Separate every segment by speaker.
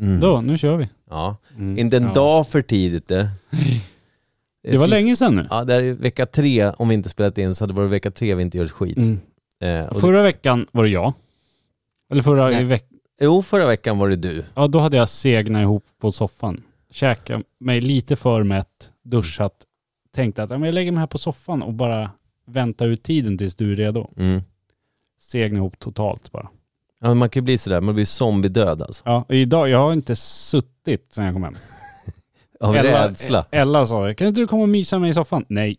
Speaker 1: Mm.
Speaker 2: Då, nu kör vi.
Speaker 1: Ja.
Speaker 2: Mm.
Speaker 1: Inte en
Speaker 2: ja.
Speaker 1: dag för tidigt det.
Speaker 2: Det var
Speaker 1: skulle-
Speaker 2: länge sedan nu.
Speaker 1: Ja, det här är vecka tre. Om vi inte spelat in så hade det varit vecka tre vi inte gjort skit.
Speaker 2: Mm.
Speaker 1: Eh, och
Speaker 2: Förra veckan var det jag. Eller förra
Speaker 1: Nej.
Speaker 2: veckan.
Speaker 1: Jo, förra veckan var det du.
Speaker 2: Ja, då hade jag segnat ihop på soffan. Käkat mig lite för mätt, duschat. Tänkte att ja, men jag lägger mig här på soffan och bara väntar ut tiden tills du är redo.
Speaker 1: Mm.
Speaker 2: Segna ihop totalt bara.
Speaker 1: Ja, men man kan ju bli sådär, man blir zombiedöd alltså.
Speaker 2: Ja, och idag, jag har inte suttit sen jag kom hem.
Speaker 1: Av rädsla.
Speaker 2: Ella sa, kan inte du komma och mysa med mig i soffan? Nej.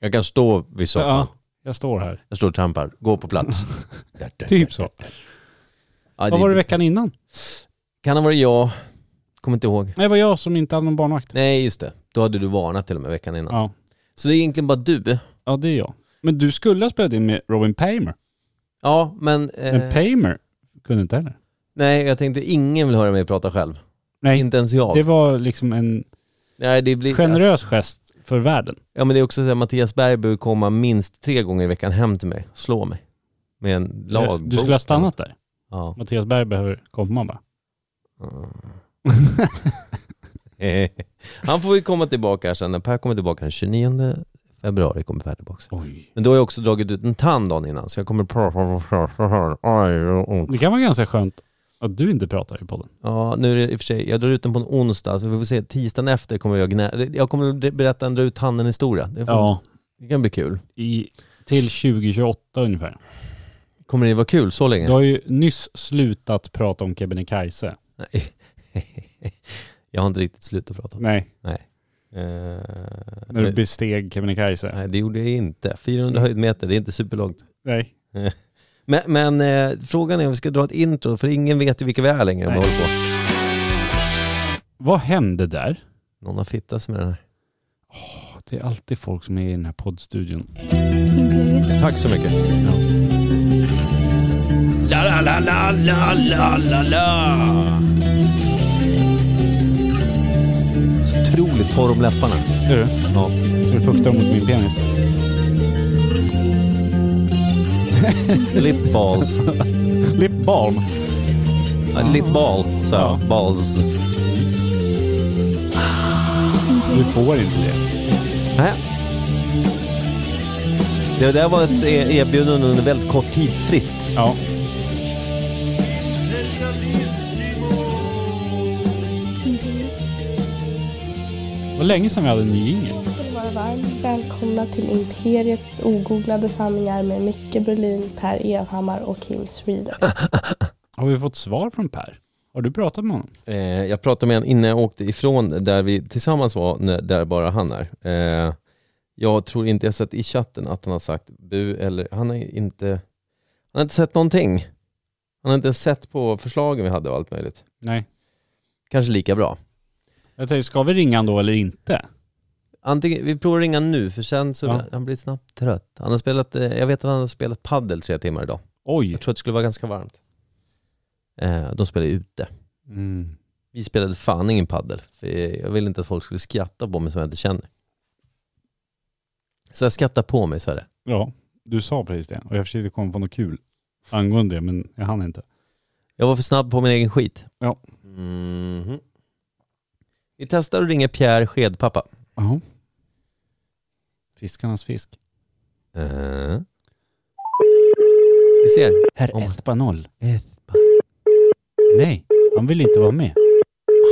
Speaker 1: Jag kan stå vid soffan.
Speaker 2: Ja, jag står här.
Speaker 1: Jag står och trampar. Gå på plats. Där, där,
Speaker 2: Typ
Speaker 1: där.
Speaker 2: så.
Speaker 1: Ja, det
Speaker 2: Vad var det veckan innan?
Speaker 1: Kan ha varit jag. Kommer inte ihåg.
Speaker 2: Nej, det var jag som inte hade någon barnvakt.
Speaker 1: Nej, just det. Då hade du varnat till och med veckan innan.
Speaker 2: Ja.
Speaker 1: Så det är egentligen bara du.
Speaker 2: ja, det är jag. Men du skulle ha spelat in med Robin Paymer.
Speaker 1: Ja, men...
Speaker 2: Men
Speaker 1: Eh,
Speaker 2: Paymer kunde inte heller.
Speaker 1: nej, jag tänkte ingen vill höra mig prata själv.
Speaker 2: Nej,
Speaker 1: Inte ens jag.
Speaker 2: det var liksom en
Speaker 1: nej, det blir,
Speaker 2: generös gest för världen. Eh,
Speaker 1: Ja men det är också så här, Mattias Berg behöver komma minst tre gånger i veckan hem till mig, slå mig. Med en lagbok.
Speaker 2: Du skulle ha stannat där.
Speaker 1: Ja.
Speaker 2: Mattias Berg behöver komma bara.
Speaker 1: Mm. Han får ju komma tillbaka här sen, när Per kommer tillbaka den 29 februari kommer Per tillbaka.
Speaker 2: Oj.
Speaker 1: Men då har jag också dragit ut en tand dagen innan så jag kommer
Speaker 2: Det kan vara ganska skönt att du inte pratar i podden.
Speaker 1: Ja nu är det i och för sig, jag drar ut den på en onsdag så vi får se, tisdagen efter kommer jag gnä... Jag kommer berätta en dra ut tanden historia. Det, får...
Speaker 2: Ja.
Speaker 1: det kan bli kul.
Speaker 2: I, till 2028 ungefär.
Speaker 1: Kommer det vara kul så länge?
Speaker 2: Du har ju nyss slutat prata om Kebnekaise.
Speaker 1: Nej. jag har inte riktigt slutat prata om det.
Speaker 2: Nej.
Speaker 1: Eh,
Speaker 2: När du besteg Kebnekaise.
Speaker 1: nej, det gjorde jag inte. 400 höjdmeter, det är inte superlångt.
Speaker 2: Nej.
Speaker 1: Men, men eh, frågan är om vi ska dra ett intro, för ingen vet ju vilka vi är längre om vi
Speaker 2: Nej.
Speaker 1: håller på.
Speaker 2: Vad hände där?
Speaker 1: Någon har fittat sig med den här.
Speaker 2: Det är alltid folk som är i den här poddstudion.
Speaker 3: Imperiet.
Speaker 1: Tack så mycket. La, la, la, la, la, la, la, la. Så otroligt torr om läpparna.
Speaker 2: Är du?
Speaker 1: Ja.
Speaker 2: Ska du fukta mot min penis?
Speaker 1: Lip balls.
Speaker 2: Lip balm.
Speaker 1: Ja, Lip ball, sa jag. Balls.
Speaker 2: Du får inte det.
Speaker 1: Nej. Det där var ett eh, erbjudande under väldigt kort tidsfrist.
Speaker 2: Ja.
Speaker 3: Imperiet.
Speaker 2: Vad länge sedan vi hade en ny jingel.
Speaker 4: ska ni vara varmt välkomna till Imperiet ogooglade sanningar med Micke Berlin, Per Evhammar och Kim Reader.
Speaker 2: Har vi fått svar från Per? Har du pratat med honom?
Speaker 1: Eh, jag pratade med honom innan jag åkte ifrån där vi tillsammans var, när, där bara han är. Eh, jag tror inte jag sett i chatten att han har sagt bu eller han har inte, han har inte sett någonting. Han har inte ens sett på förslagen vi hade och allt möjligt.
Speaker 2: Nej.
Speaker 1: Kanske lika bra.
Speaker 2: Jag tänkte, ska vi ringa honom då eller inte?
Speaker 1: Antingen, vi provar ringa nu för sen så
Speaker 2: Ja.
Speaker 1: han blir snabbt trött. Han har spelat, eh, jag vet att han har spelat paddel tre timmar idag.
Speaker 2: Oj.
Speaker 1: Jag tror att det skulle vara ganska varmt. Eh, de spelade ute.
Speaker 2: Mm.
Speaker 1: Vi spelade fan ingen paddel för jag ville inte att folk skulle skratta på mig som jag inte känner. Så jag skrattar på mig, så är det.
Speaker 2: Ja, du sa precis det. Och jag försökte komma på något kul angående det, men jag hann inte.
Speaker 1: Jag var för snabb på min egen skit.
Speaker 2: Ja.
Speaker 1: Mhm. Vi testar att ringa Pierre Skedpappa.
Speaker 2: Ja. Fiskarnas fisk.
Speaker 1: Eh. Vi ser.
Speaker 2: Herr
Speaker 1: Om-
Speaker 2: Espanol. Nej, han vill inte vara med.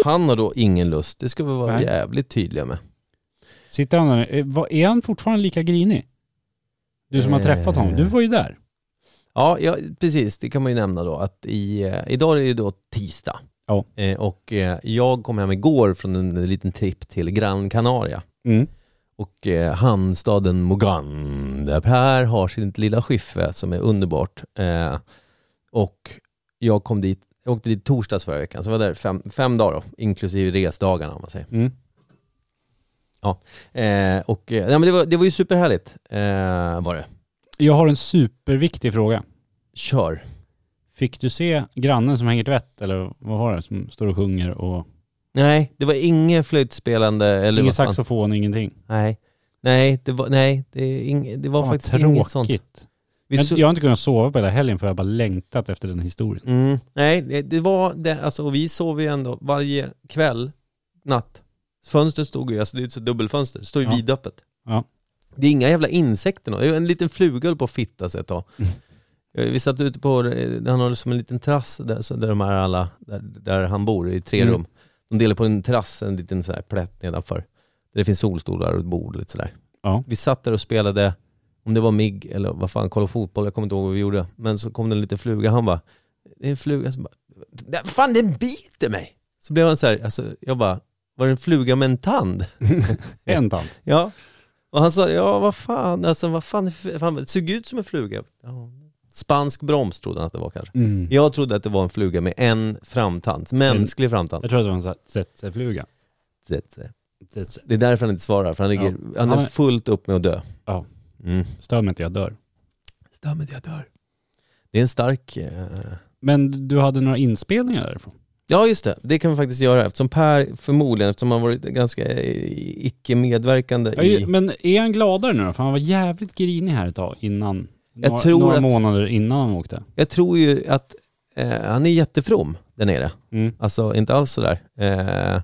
Speaker 1: Han har då ingen lust, det ska vi vara
Speaker 2: Nej.
Speaker 1: jävligt tydliga med.
Speaker 2: Sitter han där? Eh, vad- Är han fortfarande lika grinig? Du som har träffat honom. Du var ju där.
Speaker 1: Ja, ja, precis. Det kan man ju nämna då att i, eh, idag är det ju då tisdag.
Speaker 2: Ja.
Speaker 1: Eh, och eh, jag kom hem igår från en liten tripp till Gran Canaria. Och eh, hamnstaden Mogan, där Per har sitt lilla skiffe som är underbart. Eh, och jag kom dit, jag åkte dit torsdags förra veckan, så jag var där fem, fem dagar då, inklusive resdagarna om man säger.
Speaker 2: Mm.
Speaker 1: Eh, och, eh, nej, men det, var, det var ju superhärligt, eh, var det.
Speaker 2: Jag har en superviktig fråga.
Speaker 1: Kör.
Speaker 2: Fick du se grannen som hänger tvätt eller vad var det som står och sjunger och
Speaker 1: Nej, det var inget flöjtspelande eller
Speaker 2: ingen
Speaker 1: vad fan-
Speaker 2: saxofon, ingenting?
Speaker 1: Nej. Nej, det var, nej, det, är ing, det var
Speaker 2: Fan,
Speaker 1: faktiskt
Speaker 2: tråkigt.
Speaker 1: inget sånt. Vi so-
Speaker 2: Men jag har inte kunnat sova på hela helgen för jag har bara längtat efter den historien.
Speaker 1: Mm, nej, det- det var det, alltså, och vi sov ju ändå varje kväll, natt. Fönstret stod ju, alltså det är ett så dubbelfönster, det står ju
Speaker 2: Ja.
Speaker 1: vidöppet.
Speaker 2: Ja.
Speaker 1: Det är inga jävla insekter nå. en liten fluga höll på att fitta sig ett tag.
Speaker 2: Mm.
Speaker 1: Eh, Vi satt ute på, eh, han har som en liten terrass där, så där de här alla, där, där han bor i tre
Speaker 2: Mm.
Speaker 1: rum. De delar på en terrass, en liten så här plätt nedanför. Där det finns solstolar och ett bord lite sådär.
Speaker 2: Ja.
Speaker 1: Vi satt där och spelade, om det var MIG eller vad fan, kolla fotboll, jag kommer inte ihåg vad vi gjorde. Men så kom det en liten fluga, han bara, det är en fluga som bara, "Nej, fan den biter mig! Så blev han så här, alltså, jag bara, var det en fluga med en tand?
Speaker 2: En tant.
Speaker 1: Ja. Och han sa, ja vad fan, alltså vad fan, fan det såg ut som en fluga. Ja. Spansk broms trodde han att det var kanske. Jag trodde att det var en fluga med en framtand, mänsklig framtand.
Speaker 2: Jag tror att det var en sån här tsetse-fluga.
Speaker 1: Det-
Speaker 2: Tsetse.
Speaker 1: Det är därför han inte svarar, för han, ligger, han
Speaker 2: Han
Speaker 1: är
Speaker 2: är-
Speaker 1: fullt upp med att dö.
Speaker 2: Ja.
Speaker 1: Mm.
Speaker 2: Stör mig inte, jag dör.
Speaker 1: Stämmer jag dör. Det är en stark... eh,
Speaker 2: Men du hade några inspelningar därifrån?
Speaker 1: Ja just det, det kan vi faktiskt göra eftersom Per förmodligen, eftersom han varit ganska eh, icke-medverkande
Speaker 2: Ja,
Speaker 1: i...
Speaker 2: ju- Men är han gladare nu då? För han var jävligt grinig här ett tag innan.
Speaker 1: Jag
Speaker 2: några,
Speaker 1: tror
Speaker 2: några
Speaker 1: att-
Speaker 2: månader innan han åkte.
Speaker 1: Jag tror ju att eh, han är jättefrom där nere.
Speaker 2: Mm.
Speaker 1: Alltså inte alls sådär. Eh,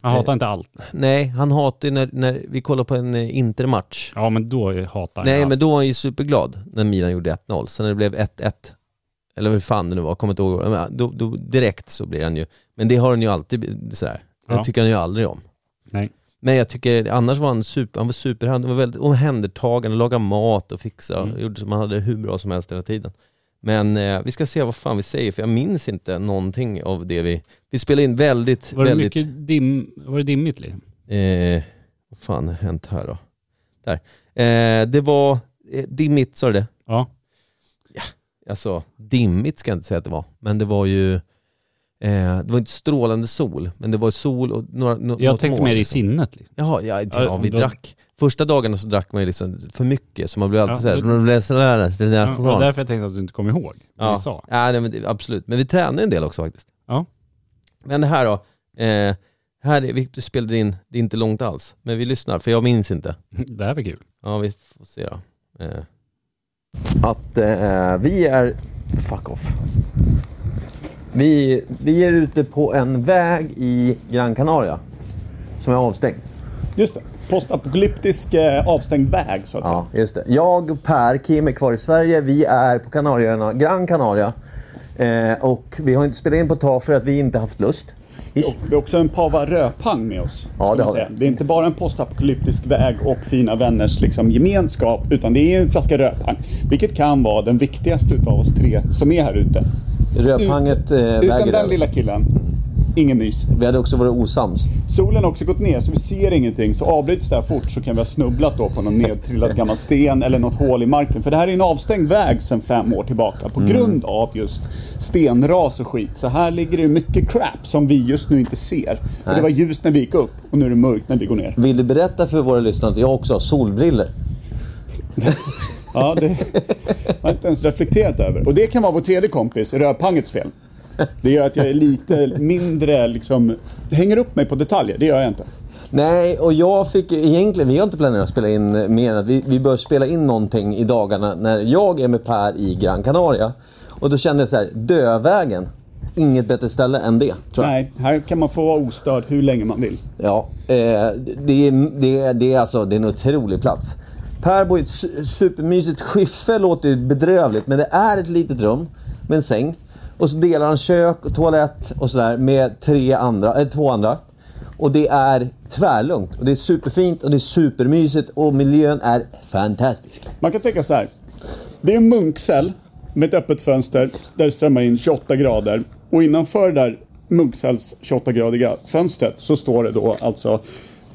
Speaker 2: Han hatar inte allt.
Speaker 1: Nej, han hatar ju när, när vi kollar på en eh, intermatch.
Speaker 2: Ja men då hatar han
Speaker 1: Nej,
Speaker 2: allt.
Speaker 1: men då var han ju superglad när Milan gjorde 1-0. Sen när det blev 1-1, eller hur fan det nu var, kommer inte ihåg. Men Då, då, direkt så blir han ju, men det har han ju alltid bl- sådär. Det
Speaker 2: Ja.
Speaker 1: tycker han ju aldrig om.
Speaker 2: Nej.
Speaker 1: Men jag tycker, annars var han super, han var super, han var väldigt omhändertagande, lagade mat och fixade,
Speaker 2: Mm.
Speaker 1: gjorde som han hade det hur bra som helst hela tiden. Men eh, vi ska se vad fan vi säger, för jag minns inte någonting av det vi... Vi spelade in väldigt,
Speaker 2: Var det
Speaker 1: väldigt...
Speaker 2: mycket dim, var det dimmigt liksom?
Speaker 1: Eh, vad fan har hänt här då? Där. Eh, det var eh, dimmigt, sa du det?
Speaker 2: Ja.
Speaker 1: Alltså, dimmigt ska jag inte säga att det var, men det var ju eh, det var inte strålande sol, men det var sol och några, nå-
Speaker 2: Jag
Speaker 1: något
Speaker 2: tänkte
Speaker 1: moln,
Speaker 2: mer i
Speaker 1: liksom.
Speaker 2: sinnet liksom.
Speaker 1: Jaha, ja, ja,
Speaker 2: Ja,
Speaker 1: vi
Speaker 2: då-
Speaker 1: drack. Första dagarna så drack man ju liksom för mycket, så man blev alltid
Speaker 2: Ja,
Speaker 1: såhär...
Speaker 2: då- Ja, det var
Speaker 1: Ja,
Speaker 2: därför jag tänkte att du inte kom ihåg vad vi sa.
Speaker 1: ja nej, men det, absolut. Men vi tränade en del också faktiskt.
Speaker 2: Ja.
Speaker 1: Men det här då. Eh, här är, vi spelade in, det är inte långt alls, men vi lyssnar, för jag minns inte.
Speaker 2: Det här var kul.
Speaker 1: Ja, vi får se då. Eh. Att eh, vi är... Fuck off. Vi, vi är ute på en väg i Gran Canaria som är avstängd.
Speaker 5: Just det. Postapokalyptisk eh, avstängd väg så att säga.
Speaker 1: Ja, just det. Jag, Per, Kim är kvar i Sverige. Vi är på Kanarieöarna, Gran Canaria. Eh, och vi har inte spelat in på ett tag för att vi inte haft lust. Ish.
Speaker 5: Vi har också en Pava Röpang med oss.
Speaker 1: Ja,
Speaker 5: ska
Speaker 1: det
Speaker 5: man
Speaker 1: har
Speaker 5: säga. det är inte bara en postapokalyptisk väg och fina vänners liksom, gemenskap, utan det är en flaska Röpang. Vilket kan vara den viktigaste utav oss tre som är här ute.
Speaker 1: Röphanget eh, väger
Speaker 5: Utan den
Speaker 1: över.
Speaker 5: lilla killen, ingen mys.
Speaker 1: Vi hade också varit osams.
Speaker 5: Solen har också gått ner så vi ser ingenting. Så avbryts det här fort så kan vi ha snubblat då på någon nedtrillad gammal sten eller något hål i marken. För det här är en avstängd väg sedan fem år tillbaka på grund av just stenras och skit. Så här ligger det mycket crap som vi just nu inte ser. För det var ljust när vi gick upp och nu är det mörkt när vi går ner.
Speaker 1: Vill du berätta för våra lyssnare att jag också har solbriller?
Speaker 5: Ja, det har jag inte ens reflekterat över. Och det kan vara vår tredje kompis, Rödpangets fel. Det gör att jag är lite mindre liksom, hänger upp mig på detaljer. Det gör jag inte.
Speaker 1: Nej, och jag fick ju- egentligen, vi har inte planerat att spela in eh, mer än att vi, vi bör spela in någonting i dagarna när jag är med Per i Gran Canaria. Och då kände jag så här, Dövägen, inget bättre ställe än det. Tror jag.
Speaker 5: Nej, här kan man få vara ostörd hur länge man vill.
Speaker 1: Ja, eh, det, är, det, är, det, är alltså, det är en otrolig plats. Per bor i ett su- supermysigt skiffe, låter ju bedrövligt, men det är ett litet rum med en säng. Och så delar han kök och toalett och sådär med tre andra, eh, två andra. Och det är tvärlugnt och det är superfint och det är supermysigt och miljön är fantastisk.
Speaker 5: Man kan tänka så här. Det är en munkcell med ett öppet fönster där det strömmar in 28 grader. Och innanför det där munkcells 28-gradiga fönstret så står det då alltså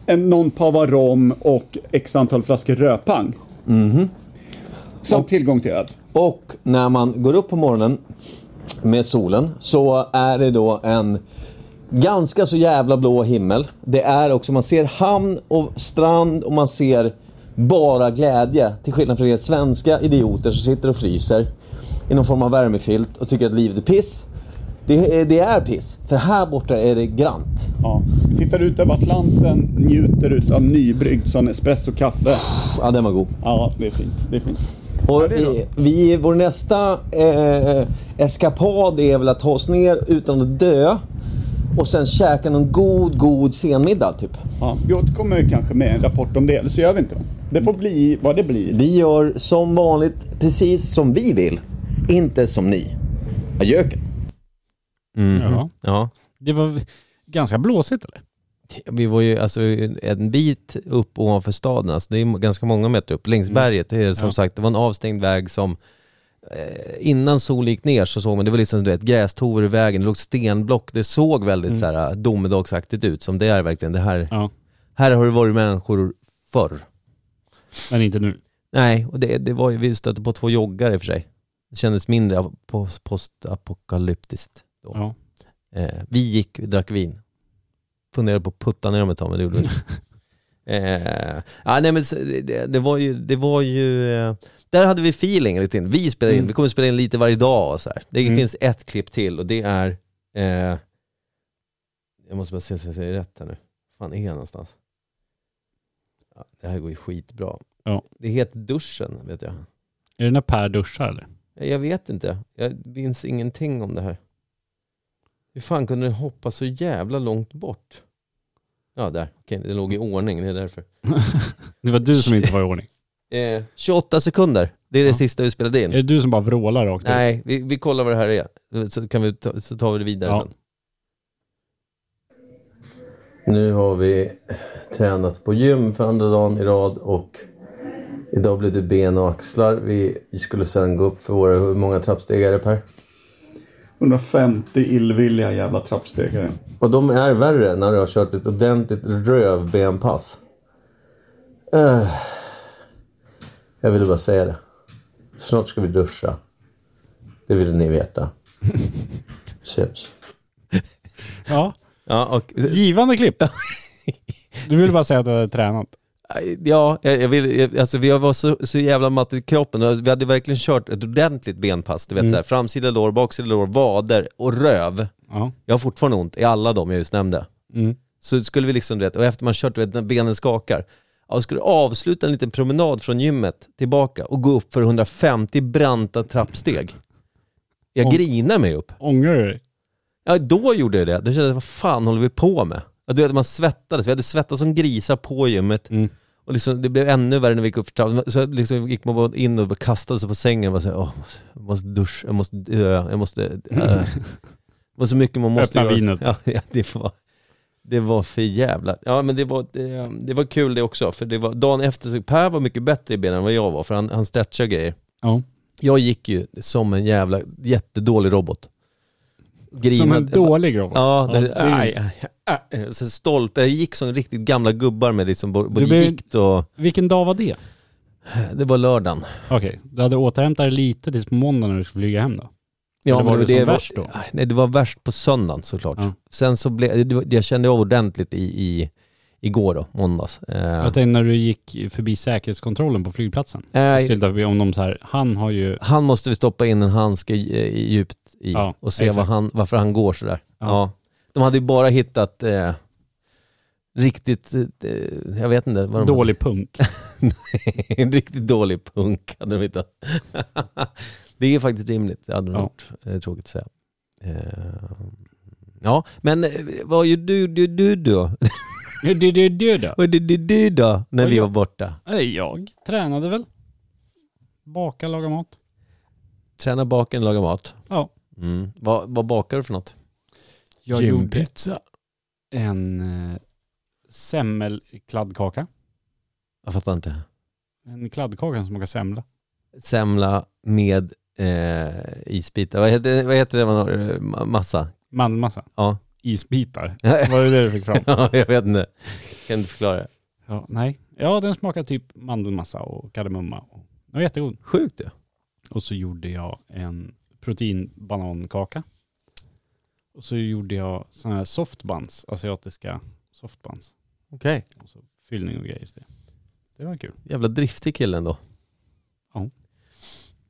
Speaker 5: en, någon pava rom och x antal flaskor röpang. Samt tillgång till öl.
Speaker 1: Och när man går upp på morgonen med solen så är det då en ganska så jävla blå himmel. Det är också, man ser hamn och strand och man ser bara glädje. Till skillnad från er svenska idioter som sitter och fryser i någon form av värmefilt och tycker att livet är piss. Det, är- det är piss, för här borta är det grant.
Speaker 5: Ja. Vi Tittar ut över Atlanten, njuter ut av nybryggd sån espresso-kaffe.
Speaker 1: Ja, den var god.
Speaker 5: Ja, det är fint. Det är fint.
Speaker 6: Och
Speaker 5: det är bra.
Speaker 6: eh, vi, vår nästa eh, eskapad är väl att ta oss ner utan att dö och sen käka någon god, god senmiddag typ.
Speaker 5: Ja, vi återkommer kanske med en rapport om det, eller så gör vi inte det. Det får bli vad det blir.
Speaker 6: Vi gör som vanligt precis som vi vill, inte som ni. Adjöken.
Speaker 1: Mhm.
Speaker 2: Ja.
Speaker 1: Ja.
Speaker 2: Det var ganska blåsigt eller?
Speaker 1: Vi var ju alltså en bit upp ovanför staden, alltså det är ganska många meter upp. Längs berget, det är som
Speaker 2: Mm. Ja.
Speaker 1: sagt, det var en avstängd väg som eh, Innan solen gick ner så såg man, det var liksom du vet, grästover i vägen, det låg stenblock, det såg väldigt så här domedagsaktigt ut som det är verkligen. Det här,
Speaker 2: Mm. Ja.
Speaker 1: här har det varit människor förr.
Speaker 2: Men inte nu.
Speaker 1: Nej, och det, det var ju, vi stötte på två joggare i och för sig. Det kändes mindre ap- pos- postapokalyptiskt då.
Speaker 2: Ja.
Speaker 1: Eh, vi gick, vi drack vin. Funderade på att putta ner dem ett tag, men det gjorde vi inte. Eh, ja, nej, men så- det, det var ju, det var ju eh, där hade vi feeling lite in. Vi spelar in,
Speaker 2: Mm.
Speaker 1: vi kommer spela in lite varje dag och så här. Det
Speaker 2: Mm.
Speaker 1: finns ett klipp till och det är, eh, jag måste bara se så jag säger rätt här nu. fan är jag någonstans? Ja, det här går ju skitbra.
Speaker 2: Ja.
Speaker 1: Det heter duschen, vet jag.
Speaker 2: Är det när Per duschar eller?
Speaker 1: Jag vet inte. Jag minns ingenting om det här. Hur fan kunde den hoppa så jävla långt bort? Ja, där. Okej, det låg i ordning. Det är därför.
Speaker 2: Det var du som inte var i ordning.
Speaker 1: Eh, 28 sekunder. Det är det
Speaker 2: Ja.
Speaker 1: sista vi spelade
Speaker 2: Är
Speaker 1: in.
Speaker 2: det du som bara vrålar rakt ut?
Speaker 1: Nej, vi, vi kollar vad det här är. Så, kan vi ta, så tar vi det vidare
Speaker 2: Ja.
Speaker 1: sen. Nu har vi tränat på gym för andra dagen i rad och idag blev det ben och axlar. Vi, skulle sen gå upp för våra... Hur många trappsteg är det Per?
Speaker 5: 150 illvilliga jävla trappstegare.
Speaker 1: Och de är värre när du har kört ett ordentligt rövbenpass. Eh, Jag ville bara säga det. Snart ska vi duscha. Det ville ni veta. Syns.
Speaker 2: Ja.
Speaker 1: Ja, och,
Speaker 2: Givande klipp. Du ville bara säga att du hade tränat.
Speaker 1: ja jag, jag vill, jag- alltså, vi var så, så jävla matt i kroppen. Och Vi hade verkligen kört ett ordentligt benpass. Du vet, så här, framsida lår, baksida lår, vader och röv.
Speaker 2: Ja.
Speaker 1: Jag har fortfarande ont i alla de jag just nämnde.
Speaker 2: Mm.
Speaker 1: Så skulle vi liksom, du vet, och efter man kört, du vet, när benen skakar. Jag skulle avsluta en liten promenad från gymmet tillbaka och gå upp för 150 branta trappsteg. Jag
Speaker 2: Om-
Speaker 1: grinar mig upp.
Speaker 2: Ångrar du dig?
Speaker 1: Ja, då gjorde jag det. Då kände jag, vad fan håller vi på med? Ja, Du vet, man svettades. Vi hade svettats som grisar på gymmet.
Speaker 2: Mm.
Speaker 1: Och liksom, det blev ännu värre när vi gick upp för trappan. Så liksom gick man bara in och bara kastade sig på sängen och bara såhär, åh, jag måste duscha, jag måste dö, jag måste... Äh. Det var så mycket man måste
Speaker 2: Öppna
Speaker 1: göra.
Speaker 2: vinet.
Speaker 1: Ja, ja, det var... Det var för jävla... Ja men det var, det, det var kul det också, för det var, dagen efter så Per var mycket bättre i benen än vad jag var, för han, han stretchade grejer.
Speaker 2: Ja.
Speaker 1: Jag gick ju som en jävla jättedålig robot. Grinade.
Speaker 2: Som en dålig robot.
Speaker 1: Ja, det,
Speaker 2: är ju-
Speaker 1: aj, aj, aj. Så stolpe. Jag gick som riktigt gamla gubbar med liksom både både
Speaker 2: Du blev-
Speaker 1: gikt och...
Speaker 2: Vilken dag var det?
Speaker 1: Det var lördagen.
Speaker 2: Okej, du hade återhämtat dig lite tills på måndag när du skulle flyga hem då? Eller var
Speaker 1: men
Speaker 2: det som värst då?
Speaker 1: Aj, Nej, det var värst på söndagen såklart.
Speaker 2: Ja.
Speaker 1: Sen så blev... det var- Jag kände av ordentligt i, i, igår då, måndags. Eh,
Speaker 2: Jag tänkte när du gick förbi säkerhetskontrollen på flygplatsen. Jag
Speaker 1: nej,
Speaker 2: ställde förbi om de så här, han har ju,
Speaker 1: han måste vi stoppa in en handske i- i- djupt i
Speaker 2: Ja,
Speaker 1: och se vad
Speaker 2: exakt.
Speaker 1: han, varför han går sådär. Ja.
Speaker 2: Ja.
Speaker 1: De hade ju bara hittat eh, riktigt... Eh, jag vet inte vad de hade.
Speaker 2: dålig punk.
Speaker 1: en riktigt dålig punk hade de hittat. det är faktiskt rimligt, det hade de
Speaker 2: Ja.
Speaker 1: gjort. Eh, Tråkigt att säga. Eh, Ja, men eh, vad gjorde du, du, du då?
Speaker 2: Ja, det, det, det då?
Speaker 1: Vad gjorde du, du då när vi var borta?
Speaker 2: Nej, Jag tränade väl. Baka, laga mat.
Speaker 1: Träna baken, laga mat.
Speaker 2: Ja.
Speaker 1: Mm. Vad, vad bakar du för något?
Speaker 2: Jag gjorde en eh, semmelkladdkaka.
Speaker 1: Jag fattar inte.
Speaker 2: En kladdkaka som smakar semla.
Speaker 1: Semla med eh, isbitar. Vad heter, vad heter det man har? Eh, ma- Massa?
Speaker 2: Mandelmassa.
Speaker 1: Ja.
Speaker 2: Isbitar. Var det det du fick fram?
Speaker 1: ja, jag vet inte. Kan inte förklara.
Speaker 2: Ja, nej. Ja, den smakar typ mandelmassa och kardemumma. och- Den var jättegod.
Speaker 1: Sjukt det.
Speaker 2: Och så gjorde jag en proteinbanankaka. Och så gjorde jag sådana här softbuns, asiatiska softbuns.
Speaker 1: Okej.
Speaker 2: Och så fyllning och grejer till det. Det var kul.
Speaker 1: Jävla driftig kille ändå.
Speaker 2: Ja.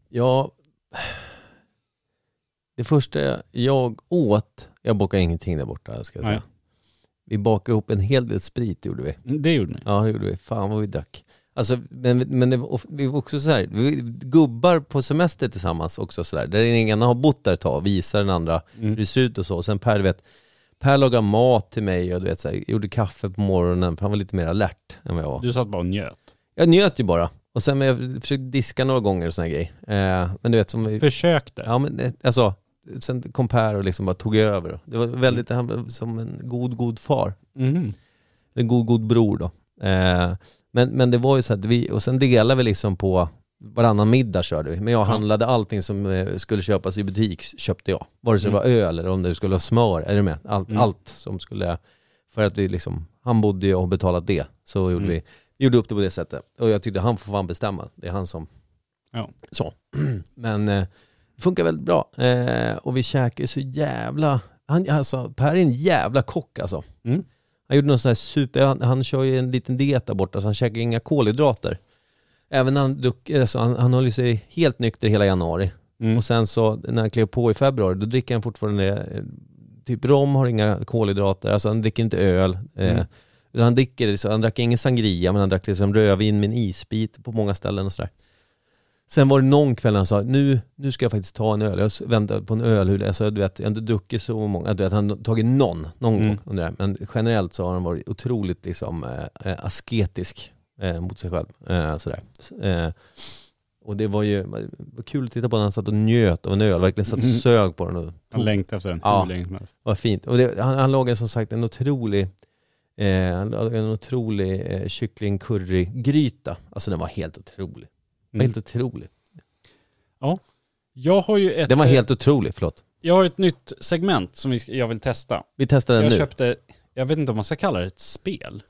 Speaker 1: Ja. Det första jag åt, jag bakade ingenting där borta ska jag säga.
Speaker 2: Nej.
Speaker 1: Vi bakade ihop en hel del sprit gjorde vi.
Speaker 2: Mm, Det gjorde ni.
Speaker 1: Ja det gjorde vi. Fan vad vi drack. Alltså, men men det, var- och vi var också så här, vi, gubbar på semester tillsammans också så där. Där den ena har bott där ett tag och visar den andra hur det ser ut och så. Och sen Per, du vet, Per lagade mat till mig och du vet, så här, gjorde kaffe på morgonen för han var lite mer alert än vad jag var.
Speaker 2: Du satt bara och njöt.
Speaker 1: Jag njöt ju bara. Och sen men jag försökte diska några gånger och såna här grejer. Eh, men du vet, som vi,
Speaker 2: Försökte.
Speaker 1: Ja men eh, alltså, sen kom Per och liksom bara tog över. Det var väldigt, han var som en god, god far.
Speaker 2: Mhm.
Speaker 1: Mm. En god, god bror då. Eh, men, men det var ju så att vi, och sen delade vi liksom på, varannan middag körde vi. Men jag handlade allting som eh, skulle köpas i butik, köpte jag. Vare sig det var öl eller om det skulle vara smör, är du med? Allt,
Speaker 2: Mm.
Speaker 1: allt som skulle, för att vi liksom, han bodde ju och betalat det. Så gjorde
Speaker 2: Mm.
Speaker 1: vi, vi gjorde upp det på det sättet. Och jag tyckte han får fan bestämma, det är han som
Speaker 2: Ja.
Speaker 1: så. Men eh, det funkar väldigt bra. Eh, och vi käkar ju så jävla... Han, alltså, per är en jävla kock alltså.
Speaker 2: Mm.
Speaker 1: Han gjorde någon sån här super... Han, han kör ju en liten diet där borta så han käkar inga kolhydrater. Även när han druck, alltså, han, han håller sig helt nykter hela januari.
Speaker 2: Mm.
Speaker 1: Och sen så när han klev på i februari då dricker han fortfarande eh, typ rom, har inga kolhydrater, alltså han dricker inte öl. Eh,
Speaker 2: Mm.
Speaker 1: utan han, dricker, liksom- han drack ingen sangria men han drack liksom rödvin med en isbit på många ställen och sådär. Sen var det någon kväll när han sa, nu, nu ska jag faktiskt ta en öl. Jag s- väntar på en ölhud. Alltså, du vet, jag har inte druckit så många. Du vet, han har tagit någon, någon
Speaker 2: Mm.
Speaker 1: gång under det här. Men generellt så har han varit otroligt liksom, eh, eh, asketisk eh, mot sig själv. Eh, sådär. S- Eh, och det var ju det var kul att titta på när han satt och njöt av en öl. Verkligen satt och
Speaker 2: Mm.
Speaker 1: sög på den. Och
Speaker 2: Han längtade efter den
Speaker 1: Ja.
Speaker 2: hur länge som helst.
Speaker 1: vad fint. Och det, han, han lagade som sagt en otrolig, eh, han lagade en otrolig eh, kyckling-curry-gryta. Alltså den var helt otrolig. Den var
Speaker 2: Mm.
Speaker 1: Helt otrolig.
Speaker 2: Jag har ju ett,
Speaker 1: Den var helt otrolig, förlåt.
Speaker 2: jag har ett nytt segment som vi, ska- jag vill testa.
Speaker 1: Vi testar den
Speaker 2: Jag
Speaker 1: nu.
Speaker 2: köpte, jag vet inte om man ska kalla det ett spel.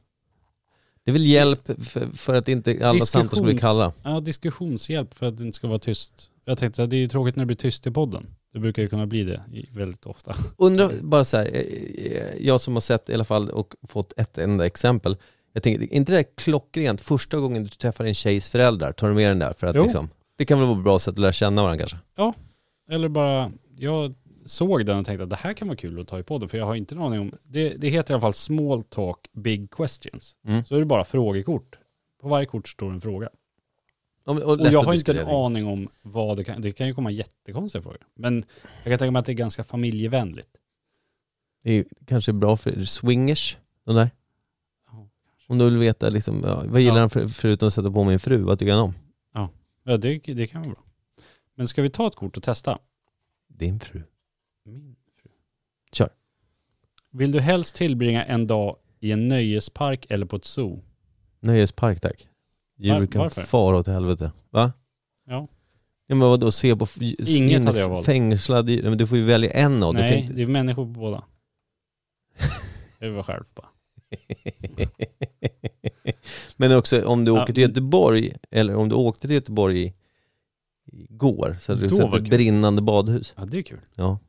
Speaker 1: Det är väl hjälp för, för att inte alla samtal ska bli
Speaker 2: Diskussions-
Speaker 1: kalla.
Speaker 2: Ja, diskussionshjälp för att det inte ska vara tyst. Jag tänkte att det är ju tråkigt när det blir tyst i podden. Det brukar ju kunna bli det i- väldigt ofta.
Speaker 1: Undrar bara så här, eh, jag som har sett i alla fall och fått ett enda exempel. Jag tänker, är inte det här klockrent? Första gången du träffar en tjejs föräldrar, tar du med den där för att
Speaker 2: Jo.
Speaker 1: liksom, det kan väl vara ett bra sätt att lära känna varandra kanske?
Speaker 2: Eller bara, jag såg den och tänkte att det här kan vara kul att ta i podden för jag har inte en aning om, det, det heter i alla fall small talk big questions.
Speaker 1: Mm.
Speaker 2: Så är det bara frågekort. På varje kort står en fråga.
Speaker 1: Om-
Speaker 2: Och
Speaker 1: lätt
Speaker 2: jag
Speaker 1: att
Speaker 2: har inte en
Speaker 1: diskutera.
Speaker 2: aning om vad det kan, det kan ju komma jättekonstiga frågor. Men jag kan tänka mig att det är ganska familjevänligt.
Speaker 1: Det är ju kanske bra för swingers, de där.
Speaker 2: Ja,
Speaker 1: Om du vill veta liksom, ja, vad gillar
Speaker 2: Ja.
Speaker 1: han för, förutom att sätta på min fru, vad tycker han om?
Speaker 2: Ja, det, det kan vara bra. Men ska vi ta ett kort och testa?
Speaker 1: Din fru.
Speaker 2: Min fru.
Speaker 1: Kör.
Speaker 2: Vill du helst tillbringa en dag i en nöjespark eller på ett zoo?
Speaker 1: Nöjespark tack. Djur
Speaker 2: Var-
Speaker 1: kan
Speaker 2: varför?
Speaker 1: fara åt helvete. Va?
Speaker 2: Ja.
Speaker 1: Ja men vadå, se på f- in-
Speaker 2: hade jag valt.
Speaker 1: fängslad djur. Men du får ju välja en av.
Speaker 2: Nej,
Speaker 1: Du kan
Speaker 2: det är människor på båda. Jag var själv bara.
Speaker 1: inte... men också om du
Speaker 2: Ja,
Speaker 1: åker till
Speaker 2: men-
Speaker 1: Göteborg, eller om du åkte till Göteborg i- igår, så hade du
Speaker 2: Då
Speaker 1: sett
Speaker 2: var
Speaker 1: ett
Speaker 2: kul.
Speaker 1: brinnande badhus.
Speaker 2: Ja, det är kul.
Speaker 1: Ja.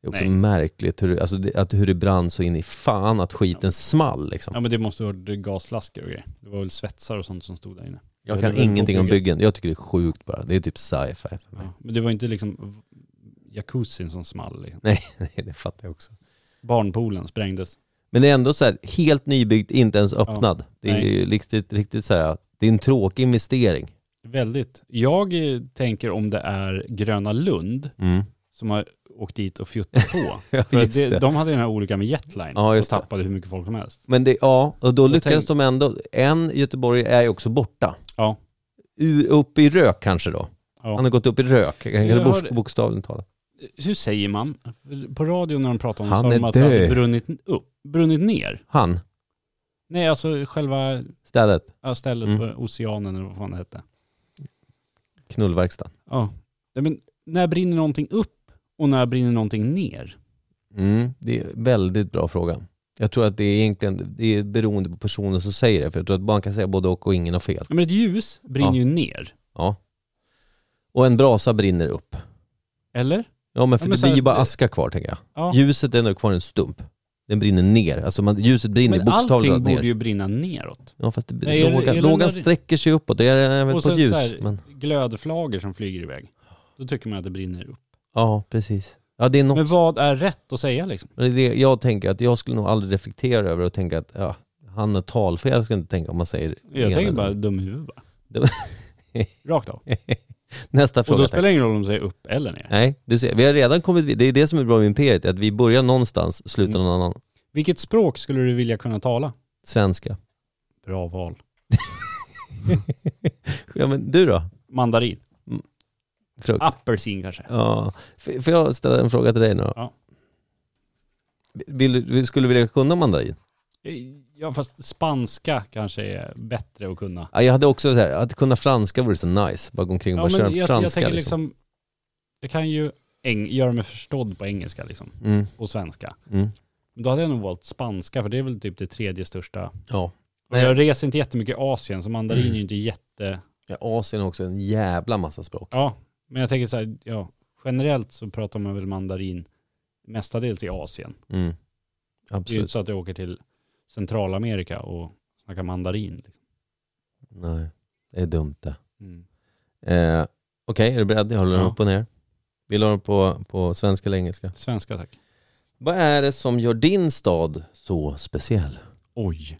Speaker 1: Det är också
Speaker 2: Nej.
Speaker 1: märkligt hur, det- alltså det, att hur det brann så in i fan att skiten small liksom.
Speaker 2: Ja, men det måste ha varit gaslasker och grejer. Det var väl svetsar och sånt som stod där inne.
Speaker 1: Jag
Speaker 2: Det
Speaker 1: kan
Speaker 2: är väl
Speaker 1: ingenting om
Speaker 2: påbyggt.
Speaker 1: byggen. Jag tycker det är sjukt bara. Det är typ sci-fi för mig.
Speaker 2: Ja, men det var inte liksom jacuzzin som small. Liksom.
Speaker 1: Nej, det fattar jag också.
Speaker 2: Barnpoolen sprängdes.
Speaker 1: Men det är ändå så här, helt nybyggt, inte ens öppnad. det är
Speaker 2: nej.
Speaker 1: ju riktigt, riktigt så här, det är en tråkig investering.
Speaker 2: Väldigt. Jag eh, tänker om det är Gröna Lund
Speaker 1: Mm.
Speaker 2: som har åkt dit och fjuttat på.
Speaker 1: Ja,
Speaker 2: För
Speaker 1: just
Speaker 2: det,
Speaker 1: det.
Speaker 2: de hade den här olyckan med Jetline
Speaker 1: Ja,
Speaker 2: och
Speaker 1: just det.
Speaker 2: tappade hur mycket folk som helst.
Speaker 1: Men det, ja, och då lyckades
Speaker 2: tänk-
Speaker 1: de ändå. En Göteborg är ju också borta.
Speaker 2: Ja.
Speaker 1: Ur, upp i rök kanske då.
Speaker 2: Ja.
Speaker 1: Han har gått upp i rök, kanske
Speaker 2: Jag
Speaker 1: bok-
Speaker 2: hörde-
Speaker 1: bokstavligen talat.
Speaker 2: Hur säger man? På radio när de pratar om det
Speaker 1: Han
Speaker 2: sa de
Speaker 1: är
Speaker 2: att det hade
Speaker 1: död.
Speaker 2: brunnit, upp, brunnit ner.
Speaker 1: Han,
Speaker 2: Nej, alltså själva
Speaker 1: stället,
Speaker 2: ja, stället
Speaker 1: Mm.
Speaker 2: på oceanen eller vad fan det hette.
Speaker 1: knullverkstan.
Speaker 2: Ja. Nej, men när brinner någonting upp och när brinner någonting ner?
Speaker 1: Mm, det är en väldigt bra fråga. Jag tror att det är egentligen det är beroende på personen som säger det. För jag tror att man kan säga både och och ingen har fel.
Speaker 2: Ja, men ett ljus brinner
Speaker 1: Ja.
Speaker 2: ju ner.
Speaker 1: Och en brasa brinner upp.
Speaker 2: Eller?
Speaker 1: Ja men för
Speaker 2: Ja, men
Speaker 1: det
Speaker 2: så här-
Speaker 1: blir ju bara aska kvar tänker jag.
Speaker 2: Ja.
Speaker 1: Ljuset är ändå kvar i en stump. Den brinner ner. Alltså man, ljuset brinner
Speaker 2: Men allting
Speaker 1: bokstavligen ner.
Speaker 2: borde ju brinna neråt.
Speaker 1: Ja fast det,
Speaker 2: Nej, är det-
Speaker 1: låga,
Speaker 2: är det
Speaker 1: lågan
Speaker 2: när det-
Speaker 1: sträcker sig uppåt. Det är även
Speaker 2: och
Speaker 1: på
Speaker 2: sen
Speaker 1: ett ljus.
Speaker 2: så här,
Speaker 1: Men,
Speaker 2: glödflagor som flyger iväg. Då tycker man att det brinner upp.
Speaker 1: ja precis. Ja det är något.
Speaker 2: Men vad är rätt att säga liksom?
Speaker 1: Det är det jag tänker att jag skulle nog aldrig reflektera över och tänka att ja, han har talfel, jag ska inte tänka om man säger
Speaker 2: Jag
Speaker 1: ena
Speaker 2: tänker
Speaker 1: eller-
Speaker 2: bara dum i huvudet bara.
Speaker 1: Dum-
Speaker 2: Rakt av.
Speaker 1: Nästa
Speaker 2: Och
Speaker 1: fråga
Speaker 2: då
Speaker 1: tack.
Speaker 2: spelar det ingen roll om du säger upp eller ner.
Speaker 1: Nej, du ser, vi har redan kommit vid- Det är det som är bra med Imperiet, att vi börjar någonstans,
Speaker 2: Mm.
Speaker 1: slutar någon annan.
Speaker 2: Vilket språk skulle du vilja kunna tala?
Speaker 1: Svenska.
Speaker 2: Bra val.
Speaker 1: Ja men du då?
Speaker 2: Mandarin.
Speaker 1: Mm. Frukt.
Speaker 2: Apelsin kanske.
Speaker 1: Ja. F- Får jag ställa en fråga till dig nu då?
Speaker 2: Ja.
Speaker 1: Vill, du- skulle du vilja kunna mandarin?
Speaker 2: Ja fast spanska kanske är bättre att kunna.
Speaker 1: Ja, jag hade också så här, att kunna franska vore så nice. Bara gå omkring och
Speaker 2: Ja,
Speaker 1: bara köra
Speaker 2: men jag, jag
Speaker 1: franska
Speaker 2: tänker
Speaker 1: liksom.
Speaker 2: liksom, jag kan ju eng- göra mig förstådd på engelska liksom,
Speaker 1: Mm,
Speaker 2: och svenska.
Speaker 1: mm.
Speaker 2: Men Då hade jag nog valt spanska för det är väl typ det tredje största.
Speaker 1: Ja.
Speaker 2: Och jag reser inte jättemycket i Asien så mandarin är ju inte jätte,
Speaker 1: Ja, Asien har också en jävla massa språk.
Speaker 2: ja. Men jag tänker så här, ja, generellt så pratar man väl mandarin mestadels i Asien.
Speaker 1: Mm.
Speaker 2: Det är ju inte
Speaker 1: Absolut.
Speaker 2: så att jag åker till Centralamerika och snackar mandarin. Liksom.
Speaker 1: Nej, det är dumt det.
Speaker 2: Mm.
Speaker 1: Eh, Okej, är du beredd? Jag håller den
Speaker 2: Ja.
Speaker 1: upp och ner. Vill du ha den på, på svenska eller engelska?
Speaker 2: Svenska tack.
Speaker 1: Vad är det som gör din stad så speciell?
Speaker 2: Oj.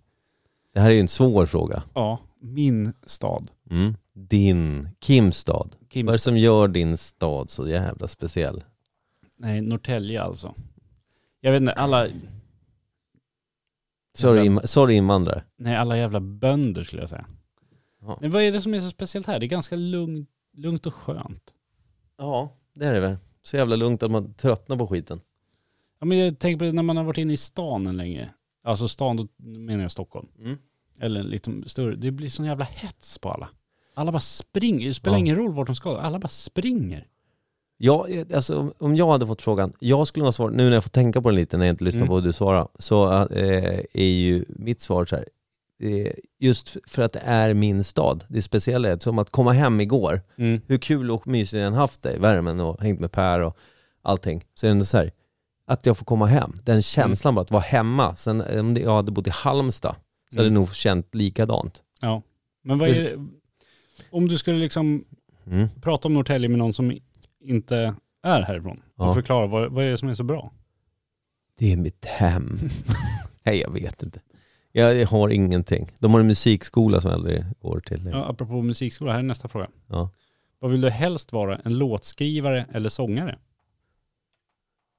Speaker 1: Det här är ju en svår fråga.
Speaker 2: Ja, min stad.
Speaker 1: Mm. Din, Kims stad. Vad är det
Speaker 2: Kimstad.
Speaker 1: som gör din stad så jävla speciell?
Speaker 2: Nej, Norrtälje alltså. Jag vet inte, alla,
Speaker 1: Sorry, im- sorry invandrare.
Speaker 2: nej, alla jävla bönder skulle jag säga.
Speaker 1: Ja.
Speaker 2: Men vad är det som är så speciellt här? Det är ganska lugnt, lugnt och skönt.
Speaker 1: Ja, det är det väl. Så jävla lugnt att man tröttnar på skiten.
Speaker 2: Ja, men jag tänker på när man har varit inne i stan en länge. Alltså stan, då menar jag Stockholm.
Speaker 1: Mm.
Speaker 2: Eller lite större. Det blir sån jävla hets på alla. Alla bara springer. Det spelar
Speaker 1: Ja.
Speaker 2: ingen roll vart de ska. Alla bara springer.
Speaker 1: Ja, alltså, om- om jag hade fått frågan, jag skulle nog ha svarat, nu när jag får tänka på den lite, när jag inte lyssnar
Speaker 2: Mm.
Speaker 1: på vad du svarar, så eh, är ju mitt svar så här, eh, just f- för att det är min stad, det är speciella, som att komma hem igår, hur kul och mysigt jag än haft det i värmen och hängt med Per och allting, så är det ändå så här, att jag får komma hem,
Speaker 2: Mm.
Speaker 1: den känslan bara att vara hemma, sen om det- jag hade bott i Halmstad, så hade
Speaker 2: Mm.
Speaker 1: jag nog känt likadant.
Speaker 2: Men vad
Speaker 1: För-
Speaker 2: är det, om du skulle liksom
Speaker 1: Mm.
Speaker 2: prata om Norrtälje med någon som inte är härifrån och
Speaker 1: Ja.
Speaker 2: förklara vad, vad är det som är så bra?
Speaker 1: Det är mitt hem. Nej, jag vet inte. Jag har ingenting. De har en musikskola som jag aldrig går till.
Speaker 2: Ja, apropå musikskola, här är nästa fråga.
Speaker 1: Ja.
Speaker 2: Vad vill du helst vara, en låtskrivare eller sångare?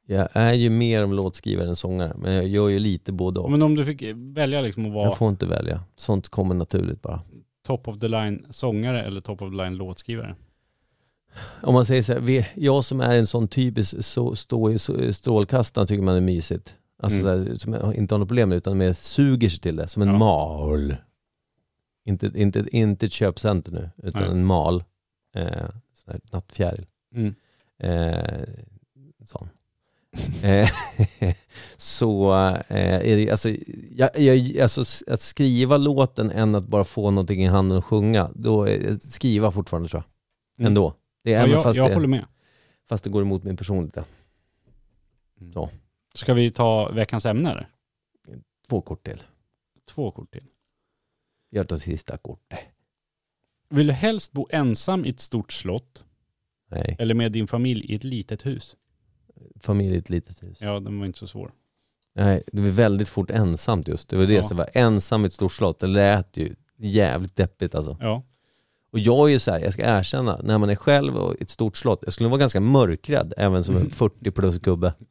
Speaker 1: Jag är ju mer om låtskrivare än sångare, men jag gör ju lite både och.
Speaker 2: Men om du fick välja liksom att vara
Speaker 1: Jag får inte välja. Sånt kommer naturligt bara.
Speaker 2: top of the line sångare eller top of the line låtskrivare?
Speaker 1: Om man säger så här, vi- jag som är en sån typisk så, stå i så- strålkastaren tycker man är mysigt. Alltså så här, som jag inte har något problem med, utan mer suger sig till det, som en
Speaker 2: Mm. Ja.
Speaker 1: mal. Inte, inte, inte ett köpcenter nu, utan
Speaker 2: Nej.
Speaker 1: en mal. Eh, sån här nattfjäril. eh, sån. Eh, så eh, är det, alltså, jag, jag, alltså, s- att skriva låten än att bara få någonting i handen och sjunga, då är, skriva fortfarande tror jag.
Speaker 2: Mm.
Speaker 1: Ändå. Det är
Speaker 2: Ja,
Speaker 1: även
Speaker 2: jag
Speaker 1: fast,
Speaker 2: jag håller
Speaker 1: det,
Speaker 2: med.
Speaker 1: fast det går emot min personlighet. Så.
Speaker 2: Ska vi ta veckans ämne eller?
Speaker 1: Två kort till.
Speaker 2: Två kort till.
Speaker 1: Jag tar sista kortet.
Speaker 2: Vill du helst bo ensam i ett stort slott
Speaker 1: Nej,
Speaker 2: eller med din familj i ett litet hus?
Speaker 1: familj i ett litet hus.
Speaker 2: Ja, den var inte så svår.
Speaker 1: Nej, det blir väldigt fort ensamt just. Det var det
Speaker 2: Ja.
Speaker 1: som var ensam i ett stort slott. Det lät ju jävligt deppigt alltså.
Speaker 2: Ja.
Speaker 1: Och jag är ju så här, jag ska erkänna, när man är själv och i ett stort slott, jag skulle vara ganska mörkrädd även som en 40 plus gubbe. Mm.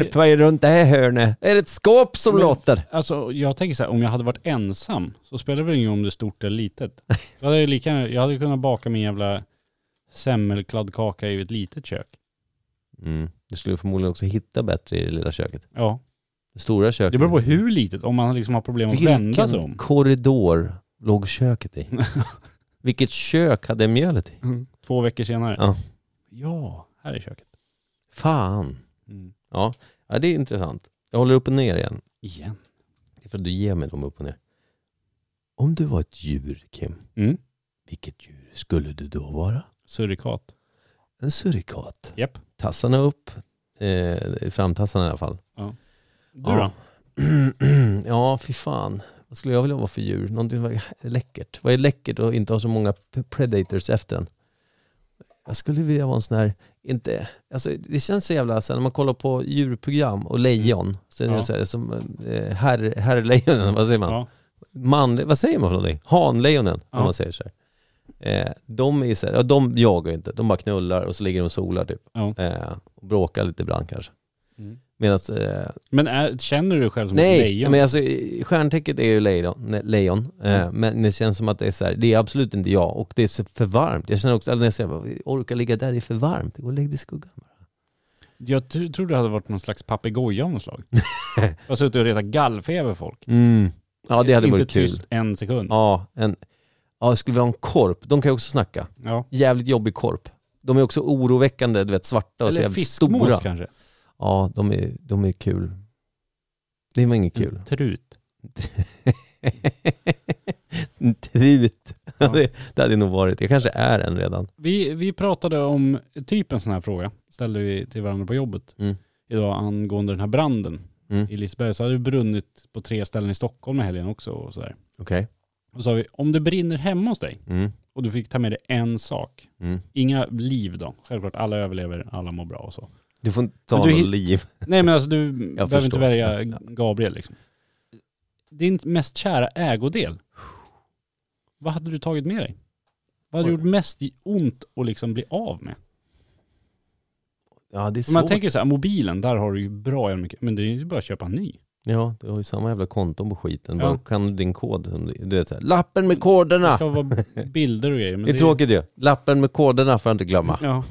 Speaker 1: Hjälp, vad är runt det här hörnet? Är det ett skåp som
Speaker 2: Men-
Speaker 1: låter?
Speaker 2: Alltså jag tänker så här, om jag hade varit ensam så spelar det väl ingen roll om det är stort eller litet. Då hade jag, lika, jag hade kunnat baka min jävla semmelkladdkaka i ett litet kök.
Speaker 1: Mm. Du skulle förmodligen också hitta bättre i det lilla köket.
Speaker 2: Ja,
Speaker 1: Det stora köket.
Speaker 2: det beror på hur litet, om man liksom har problem att vända sig
Speaker 1: Vilken
Speaker 2: om.
Speaker 1: korridor låg köket i? Vilket kök hade mjölet i?
Speaker 2: Två veckor senare.
Speaker 1: Ja.
Speaker 2: Ja, här är köket.
Speaker 1: Fan.
Speaker 2: Mm.
Speaker 1: Ja. ja, det är intressant. Jag håller upp och ner igen.
Speaker 2: Igen.
Speaker 1: Det är för att du ger mig dem upp och ner. Om du var ett djur, Kim,
Speaker 2: Mm.
Speaker 1: vilket djur skulle du då vara?
Speaker 2: Surikat.
Speaker 1: En surikat.
Speaker 2: Japp.
Speaker 1: Tassarna upp, eh, framtassarna i alla fall.
Speaker 2: Du
Speaker 1: Ja.
Speaker 2: då?
Speaker 1: ja, fy fan. Vad skulle jag vilja vara för djur? Någonting som var läckert. Vad är läckert och inte ha så många p- predators efter en? Jag skulle vilja vara en sån här, inte, alltså det känns så jävla, så här, när man kollar på djurprogram och lejon, så är det
Speaker 2: Ja.
Speaker 1: så här, som eh, herr, herrlejonen, vad säger man?
Speaker 2: Ja.
Speaker 1: man, vad säger man för någonting? Hanlejonen, om
Speaker 2: Ja.
Speaker 1: man säger så här. Eh, de är ju så här, ja, de jagar ju inte, de bara knullar och så ligger de och solar typ.
Speaker 2: Ja.
Speaker 1: Eh, och bråkar lite ibland kanske.
Speaker 2: Mm.
Speaker 1: Medan, eh,
Speaker 2: Men är, känner du dig själv som ett
Speaker 1: nej,
Speaker 2: lejon?
Speaker 1: men alltså eh, stjärntecket är ju lejon, ne, lejon eh,
Speaker 2: Mm.
Speaker 1: men det känns som att det är så här, det är absolut inte jag och det är så för varmt. Jag känner också, alltså, när jag säger, bara, orkar ligga där, det är för varmt, gå och lägg dig i skuggan.
Speaker 2: Jag tr- tror du hade varit någon slags papegoja av något slag. jag har suttit och retat gallfeber folk.
Speaker 1: Mm. Ja det hade
Speaker 2: Inte
Speaker 1: varit kul.
Speaker 2: tyst en sekund. Ja.
Speaker 1: Ja, en, ja, skulle vi ha en korp, de kan ju också snacka. jävligt jobbig korp. De är också oroväckande, du vet svarta och så
Speaker 2: Eller
Speaker 1: jävligt
Speaker 2: fiskmås
Speaker 1: stora.
Speaker 2: kanske.
Speaker 1: Ja, de är, de är kul. Det var inget kul.
Speaker 2: En Trut.
Speaker 1: En Trut.
Speaker 2: Ja.
Speaker 1: Det, det hade nog varit. Jag kanske är en redan.
Speaker 2: Vi, vi pratade om typ en sån här fråga, ställde vi till varandra på jobbet
Speaker 1: Mm.
Speaker 2: idag angående den här branden
Speaker 1: Mm.
Speaker 2: i Liseberg. Så hade det brunnit på tre ställen i Stockholm i helgen också och sådär.
Speaker 1: Okej.
Speaker 2: Och så sa vi, om det brinner hemma hos dig
Speaker 1: Mm.
Speaker 2: och du fick ta med dig en sak,
Speaker 1: Mm.
Speaker 2: inga liv då, självklart alla överlever, alla mår bra och så.
Speaker 1: Du får inte ta
Speaker 2: Men du
Speaker 1: något
Speaker 2: hit-
Speaker 1: liv.
Speaker 2: Nej men alltså du behöver
Speaker 1: förstår.
Speaker 2: inte välja
Speaker 1: Ja.
Speaker 2: Gabriel liksom. Din mest kära ägodel, vad hade du tagit med dig? Vad hade
Speaker 1: Oj.
Speaker 2: gjort mest ont att liksom bli av med?
Speaker 1: Ja, det är
Speaker 2: Om man
Speaker 1: svårt.
Speaker 2: tänker så här, mobilen, där har du ju bra jävla mycket, men det är ju bara att köpa en ny.
Speaker 1: Ja, du har ju samma jävla konton på skiten.
Speaker 2: Ja.
Speaker 1: Bara kan du din kod. som Du du vet så här, lappen med
Speaker 2: Det
Speaker 1: koderna!
Speaker 2: ska vara bilder och grejer. Men
Speaker 1: Det är tråkigt ju. Lappen med koderna får jag inte glömma.
Speaker 2: Ja.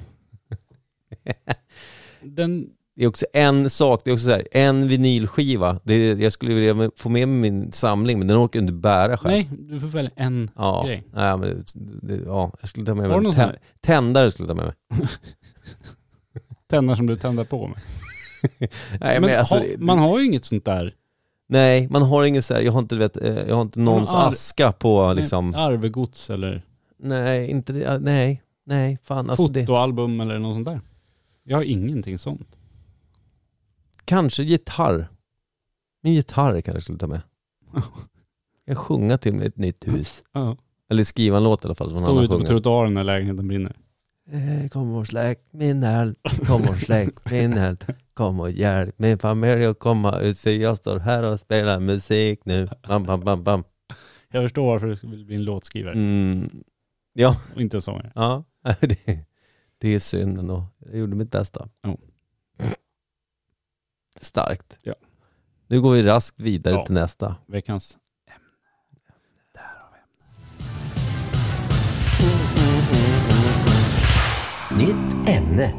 Speaker 2: Den,
Speaker 1: Det är också en sak, det är också så här, en vinylskiva. Det är, jag skulle vilja få med mig min samling men den orkar jag inte bära själv.
Speaker 2: nej, du får välja en.
Speaker 1: Ja,
Speaker 2: grej.
Speaker 1: nej, men det, det, ja, jag skulle ta med mig
Speaker 2: Har du
Speaker 1: en
Speaker 2: någon
Speaker 1: tä-
Speaker 2: sån här
Speaker 1: tändare. Skulle jag ta med mig.
Speaker 2: tändare som du tänder på med?
Speaker 1: Nej, men
Speaker 2: men
Speaker 1: alltså,
Speaker 2: ha, man har ju inget sånt där.
Speaker 1: nej, man har ingen så här, jag har inte, du vet, eh, jag har inte någons
Speaker 2: har aldrig-
Speaker 1: aska på liksom.
Speaker 2: Arvegods eller
Speaker 1: Nej, inte det, äh, nej, nej, fan alltså det.
Speaker 2: fotoalbum eller något sånt där. Jag har ingenting sånt.
Speaker 1: Kanske gitarr. Min gitarr kanske jag skulle ta med. Jag kan sjunga till mig i ett nytt hus.
Speaker 2: Ja.
Speaker 1: Eller skriva en låt i alla fall som någon
Speaker 2: Stå
Speaker 1: annan
Speaker 2: ute på
Speaker 1: sjunger.
Speaker 2: trottoaren när lägenheten brinner.
Speaker 1: Eh, Kom och släck min eld, kom och släck min eld, kom och hjälp min familj att komma ut för jag står här och spelar musik nu. Bam, bam, bam, bam.
Speaker 2: Jag förstår varför du vill bli en låtskrivare
Speaker 1: Mm. Ja,
Speaker 2: och inte en sångare.
Speaker 1: ja. Det, det är synd ändå. Jag gjorde mitt bästa.
Speaker 2: Ja.
Speaker 1: Starkt.
Speaker 2: Ja.
Speaker 1: Nu går vi raskt vidare
Speaker 2: Ja.
Speaker 1: till nästa.
Speaker 2: Veckans
Speaker 7: Nytt ämne.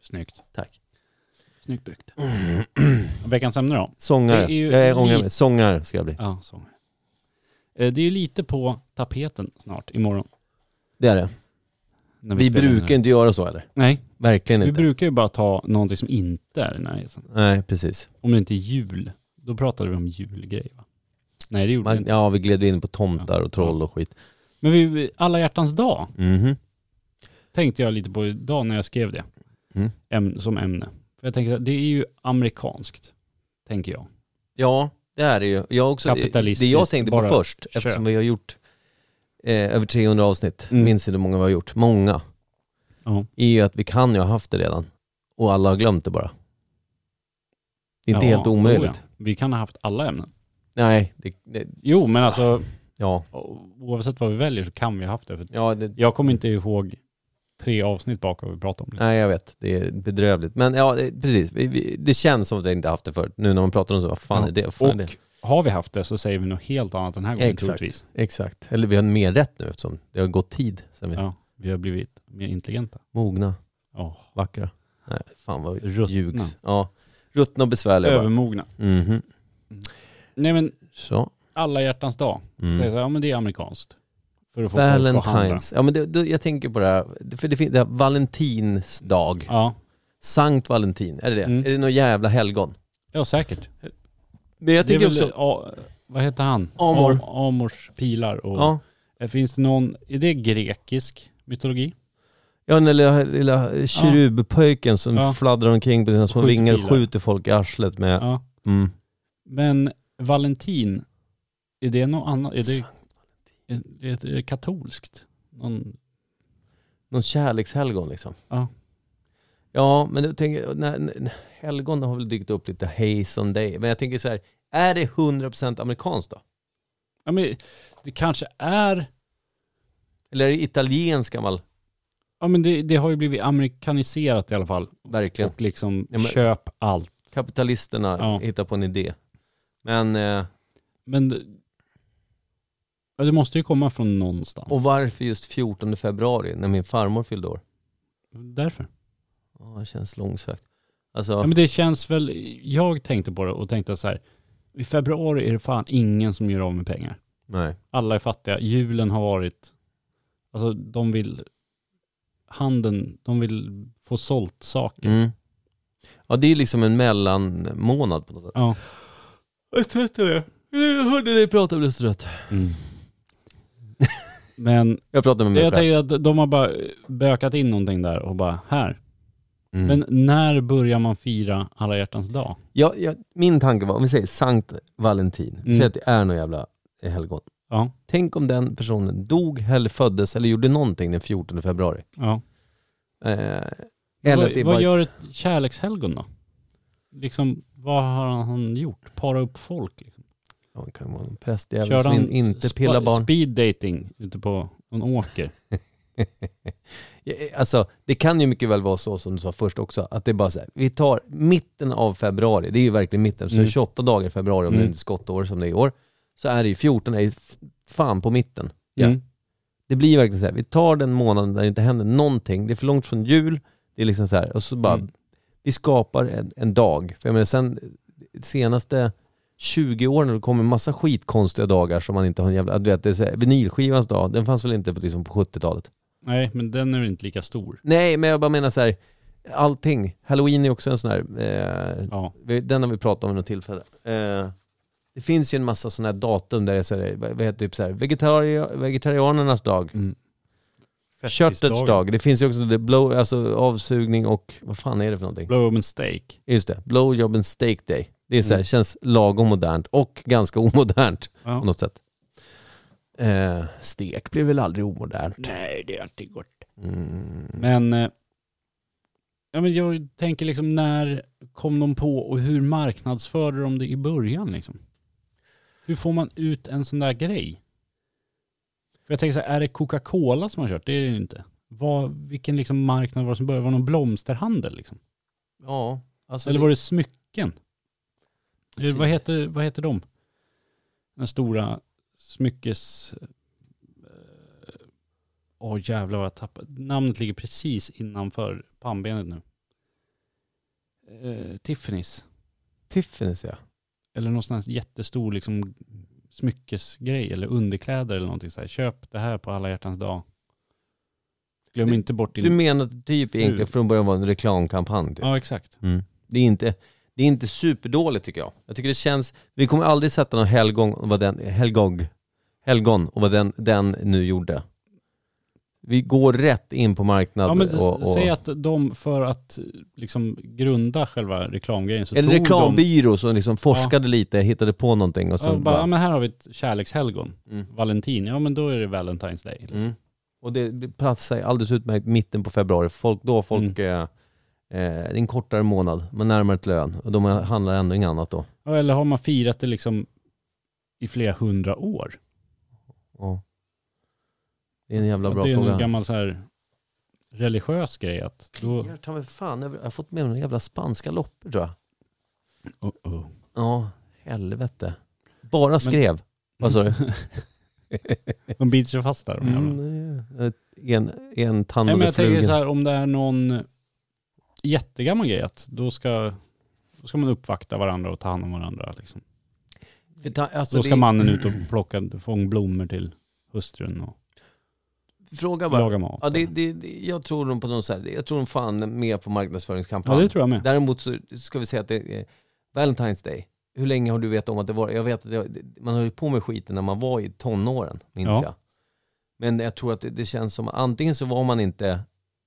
Speaker 2: Snyggt.
Speaker 1: Tack.
Speaker 2: Snyggt byggt. Veckans ämne då?
Speaker 1: Sångare.
Speaker 2: Det är ju
Speaker 1: jag ångrar
Speaker 2: lite-
Speaker 1: mig. Sångare ska jag bli.
Speaker 2: Ja, sång. Eh, Det är ju lite på tapeten snart, imorgon.
Speaker 1: Det är det.
Speaker 2: När
Speaker 1: Vi
Speaker 2: spelar den
Speaker 1: brukar
Speaker 2: här.
Speaker 1: inte göra så eller?
Speaker 2: Nej,
Speaker 1: Verkligen
Speaker 2: vi
Speaker 1: inte.
Speaker 2: brukar ju bara ta någonting som inte är i närheten.
Speaker 1: Nej, precis.
Speaker 2: Om det inte är jul, då pratade vi om julgrej va? Nej det gjorde vi
Speaker 1: Man,
Speaker 2: inte.
Speaker 1: ja, vi gled in på tomtar och troll och skit.
Speaker 2: Men vi- vi, alla hjärtans dag
Speaker 1: Mhm.
Speaker 2: tänkte jag lite på idag när jag skrev det.
Speaker 1: Mm.
Speaker 2: Äm, som ämne. För jag tänker att det är ju amerikanskt, tänker jag.
Speaker 1: Ja, det är det ju. Jag har också,
Speaker 2: Kapitalistiskt,
Speaker 1: det jag tänkte på
Speaker 2: bara
Speaker 1: först,
Speaker 2: köp.
Speaker 1: eftersom vi har gjort eh, över 300 avsnitt,
Speaker 2: Mm.
Speaker 1: minns inte hur många vi har gjort, många,
Speaker 2: Ja.
Speaker 1: är ju att vi kan ju ha haft det redan. Och alla har glömt det bara. Det är inte
Speaker 2: Ja,
Speaker 1: helt omöjligt.
Speaker 2: oh ja. Vi kan ha haft alla ämnen.
Speaker 1: Nej, det, det,
Speaker 2: Jo men alltså,
Speaker 1: ja.
Speaker 2: oavsett vad vi väljer så kan vi ha haft det. För
Speaker 1: ja det,
Speaker 2: Jag kommer inte ihåg tre avsnitt bak vad vi pratade om.
Speaker 1: Nej jag vet, det är bedrövligt. Men ja, det, precis. Vi, vi, det känns som att jag inte haft det förut. Nu när man pratar om det så, vad fan
Speaker 2: Ja.
Speaker 1: är det? Vad fan är det?
Speaker 2: Och har vi haft det så säger vi något helt annat den här gången
Speaker 1: Exakt.
Speaker 2: troligtvis.
Speaker 1: Exakt. Eller vi har mer rätt nu eftersom det har gått tid sen vi
Speaker 2: Ja, vi har blivit mer intelligenta.
Speaker 1: mogna.
Speaker 2: Ja.
Speaker 1: Vackra. Nej, fan vad
Speaker 2: Ruttna.
Speaker 1: ljugs. Ja. Ruttna och besvärliga. bara.
Speaker 2: Övermogna.
Speaker 1: Mhm.
Speaker 2: Nej men
Speaker 1: Så.
Speaker 2: alla hjärtans dag. Det är
Speaker 1: Mm.
Speaker 2: så, här, ja men det är amerikanskt. För att få folk att handla.
Speaker 1: Valentines. Ja, men det, det, jag tänker på det här, för det finns det här Valentins dag.
Speaker 2: Ja,
Speaker 1: Sankt Valentin, är det det?
Speaker 2: Mm.
Speaker 1: Är det något jävla helgon?
Speaker 2: ja säkert.
Speaker 1: Men jag
Speaker 2: det är
Speaker 1: tänker
Speaker 2: väl,
Speaker 1: också...
Speaker 2: ja, vad heter han?
Speaker 1: Amor.
Speaker 2: Am- Amors pilar och... Eh,
Speaker 1: Ja,
Speaker 2: Finns det någon, är det grekisk mytologi?
Speaker 1: ja den där lilla, lilla kerubpöjken som
Speaker 2: Ja.
Speaker 1: fladdrar omkring på sina små
Speaker 2: Skjuter
Speaker 1: vingar och
Speaker 2: pilar.
Speaker 1: skjuter folk i arslet med...
Speaker 2: Ja.
Speaker 1: Mm.
Speaker 2: Men Valentin, är det något annat? Är det, är, är det katolskt? Någon,
Speaker 1: Någon kärlekshelgon liksom.
Speaker 2: Ja.
Speaker 1: Ja, men jag tänker, när, när, helgon har väl dykt upp lite hejs on day. Men jag tänker så här, är det 100% amerikanskt då?
Speaker 2: ja, men det kanske är,
Speaker 1: Eller är det italiensk gammal,
Speaker 2: ja men det, det har ju blivit amerikaniserat i alla fall.
Speaker 1: verkligen?
Speaker 2: Och liksom
Speaker 1: Ja, men-
Speaker 2: köp allt.
Speaker 1: Kapitalisterna
Speaker 2: Ja.
Speaker 1: hittar på en idé. Men, eh,
Speaker 2: Men det, ja, det måste ju komma från någonstans.
Speaker 1: och varför just 14 februari när min farmor fyllde år?
Speaker 2: Därför.
Speaker 1: Ja, det känns långsökt. Alltså,
Speaker 2: Ja, men det känns väl, jag tänkte på det och tänkte så här, i februari är det fan ingen som gör av med pengar.
Speaker 1: nej.
Speaker 2: Alla är fattiga, julen har varit, alltså de vill, handeln, de vill få sålt saker.
Speaker 1: Mm. Ja, det är liksom en mellanmånad på något sätt.
Speaker 2: Ja.
Speaker 1: Jag är trött av det. Jag hörde dig prata och blev så trött.
Speaker 2: Men
Speaker 1: Jag pratar med mig
Speaker 2: jag
Speaker 1: själv.
Speaker 2: tänker att de har bara bökat in någonting där och bara, här.
Speaker 1: Mm.
Speaker 2: Men när börjar man fira alla hjärtans dag?
Speaker 1: Jag, jag, min tanke var, om vi säger Sankt Valentin,
Speaker 2: Mm.
Speaker 1: säg att det är någon jävla helgon.
Speaker 2: Ja,
Speaker 1: Tänk om den personen dog, eller föddes eller gjorde någonting den 14 februari.
Speaker 2: ja.
Speaker 1: Eh, eller
Speaker 2: vad,
Speaker 1: att det
Speaker 2: vad
Speaker 1: är bara...
Speaker 2: gör ett kärlekshelgon då? Liksom, vad har han gjort? Para upp folk? Liksom?
Speaker 1: Ja, det kan vara en prästjävel
Speaker 2: Kör
Speaker 1: som
Speaker 2: han
Speaker 1: in, inte
Speaker 2: spa-
Speaker 1: pillar barn.
Speaker 2: speed dating ute på en åker?
Speaker 1: Ja, eh, Alltså, det kan ju mycket väl vara så som du sa först också, att det är bara så här, vi tar mitten av februari, det är ju verkligen mitten, så
Speaker 2: Mm.
Speaker 1: 28 dagar i februari om
Speaker 2: Mm.
Speaker 1: det är ett skottår som det är i år, så är det ju 14, är ju f- fan på mitten. Ja.
Speaker 2: Mm.
Speaker 1: Det blir verkligen så här, vi tar den månaden där det inte händer någonting, det är för långt från jul, det är liksom så här, och så bara,
Speaker 2: Mm.
Speaker 1: vi skapar en, en dag. För jag menar, sen de senaste 20 åren har det kommit massa skitkonstiga dagar som man inte har en jävla, du vet, det är så här, vinylskivans dag, den fanns väl inte på, liksom, på 70-talet?
Speaker 2: Nej, men den är väl inte lika stor.
Speaker 1: Nej, men jag bara menar så här, allting. Halloween är också en sån här, eh,
Speaker 2: Ja.
Speaker 1: vi- den har vi pratat om vid något tillfälle. Eh, det finns ju en massa sådana här datum där det är så här, vad vad heter det, typ så här, vegetari- vegetarianernas dag, köttets
Speaker 2: Fettisdagen.
Speaker 1: Mm. dag. Det finns ju också det blow, alltså avsugning och, vad fan är det för någonting?
Speaker 2: Blow and steak.
Speaker 1: Just det, blowjob and steak day. Det är så här,
Speaker 2: Mm.
Speaker 1: känns lagom modernt och ganska omodernt på
Speaker 2: Ja.
Speaker 1: något sätt. Eh, stek blir väl aldrig omodernt?
Speaker 2: Nej, det är alltid gott.
Speaker 1: Mm.
Speaker 2: Men, eh, ja, men jag tänker liksom när kom de på och hur marknadsförde de det i början liksom? Hur får man ut en sån där grej? För jag tänker så här, är det Coca-Cola som har kört? Det är det ju inte. Vad, vilken liksom marknad var det som började? Var det någon blomsterhandel liksom?
Speaker 1: Ja, alltså
Speaker 2: Eller var det smycken? Eh,
Speaker 1: Precis.
Speaker 2: Vad heter, vad heter de? Den stora smyckes... eh, Åh jävlar vad jag tappade. Namnet ligger precis innanför pannbenet nu. Eh, Tiffany's.
Speaker 1: Tiffany's ja.
Speaker 2: Eller någon sån här jättestor liksom smyckesgrej eller underkläder eller någonting så här. Köp det här på alla hjärtans dag. Glöm
Speaker 1: Du-
Speaker 2: inte bort din...
Speaker 1: Du menar att det typ egentligen från början var en reklamkampanj? Typ.
Speaker 2: ja Mm. exakt.
Speaker 1: Det, är inte, det är inte superdåligt tycker jag. Jag tycker det känns, vi kommer aldrig sätta någon helgon och vad den, helgog, helgon och vad den, den nu gjorde. Vi går rätt in på marknaden.
Speaker 2: Ja men s-
Speaker 1: och, och,
Speaker 2: säg att de för att eh, liksom grunda själva reklamgrejen så
Speaker 1: en
Speaker 2: tog de
Speaker 1: reklambyrå som liksom forskade lite, hittade på någonting och
Speaker 2: ja,
Speaker 1: sen
Speaker 2: bara, ja,
Speaker 1: Alltså, bara...
Speaker 2: men här har vi ett kärlekshelgon,
Speaker 1: Mm.
Speaker 2: Valentin, ja men då är det Valentine's Day. Liksom.
Speaker 1: Mm. Och det, det platsar ju alldeles utmärkt mitten på februari. Folk, då
Speaker 2: Mm.
Speaker 1: folk, eh, eh, det är en kortare månad, man närmar ett lön och de handlar ändå inget annat då.
Speaker 2: Ja, Eller har man firat det liksom i flera hundra år?
Speaker 1: Ja. Det är en jävla
Speaker 2: Att
Speaker 1: bra
Speaker 2: det är
Speaker 1: fråga.
Speaker 2: någon gammal så här religiös grej att då...
Speaker 1: Jag tar mig fan, över- jag har fått med mig några jävla spanska loppor tror jag.
Speaker 2: Oh, oh.
Speaker 1: Ja, helvete. Bara skrev. Vad sa du?
Speaker 2: De biter sig fast där de jävlarna.
Speaker 1: Mm, det är en, en tand
Speaker 2: Nej men
Speaker 1: över
Speaker 2: jag tänker
Speaker 1: flugan.
Speaker 2: så här om det är någon jättegammal grej att då ska, då ska man uppvakta varandra och ta hand om varandra liksom.
Speaker 1: Vi tar- alltså,
Speaker 2: Då
Speaker 1: det
Speaker 2: ska
Speaker 1: är-
Speaker 2: mannen ut och plocka, fånga blommor till hustrun och
Speaker 1: Fråga bara.
Speaker 2: laga mat.
Speaker 1: Ja, det, det, det, jag tror de på något sätt, jag tror de fan är med på
Speaker 2: ja,
Speaker 1: marknadsföringskampanj.
Speaker 2: det tror jag med.
Speaker 1: Däremot så ska vi säga att det är Valentine's Day. Hur länge har du vetat om att det var? Jag vet att det, man höll på med skiten när man var i tonåren, minns
Speaker 2: Ja.
Speaker 1: jag. Men jag tror att det, det känns som, antingen så var man inte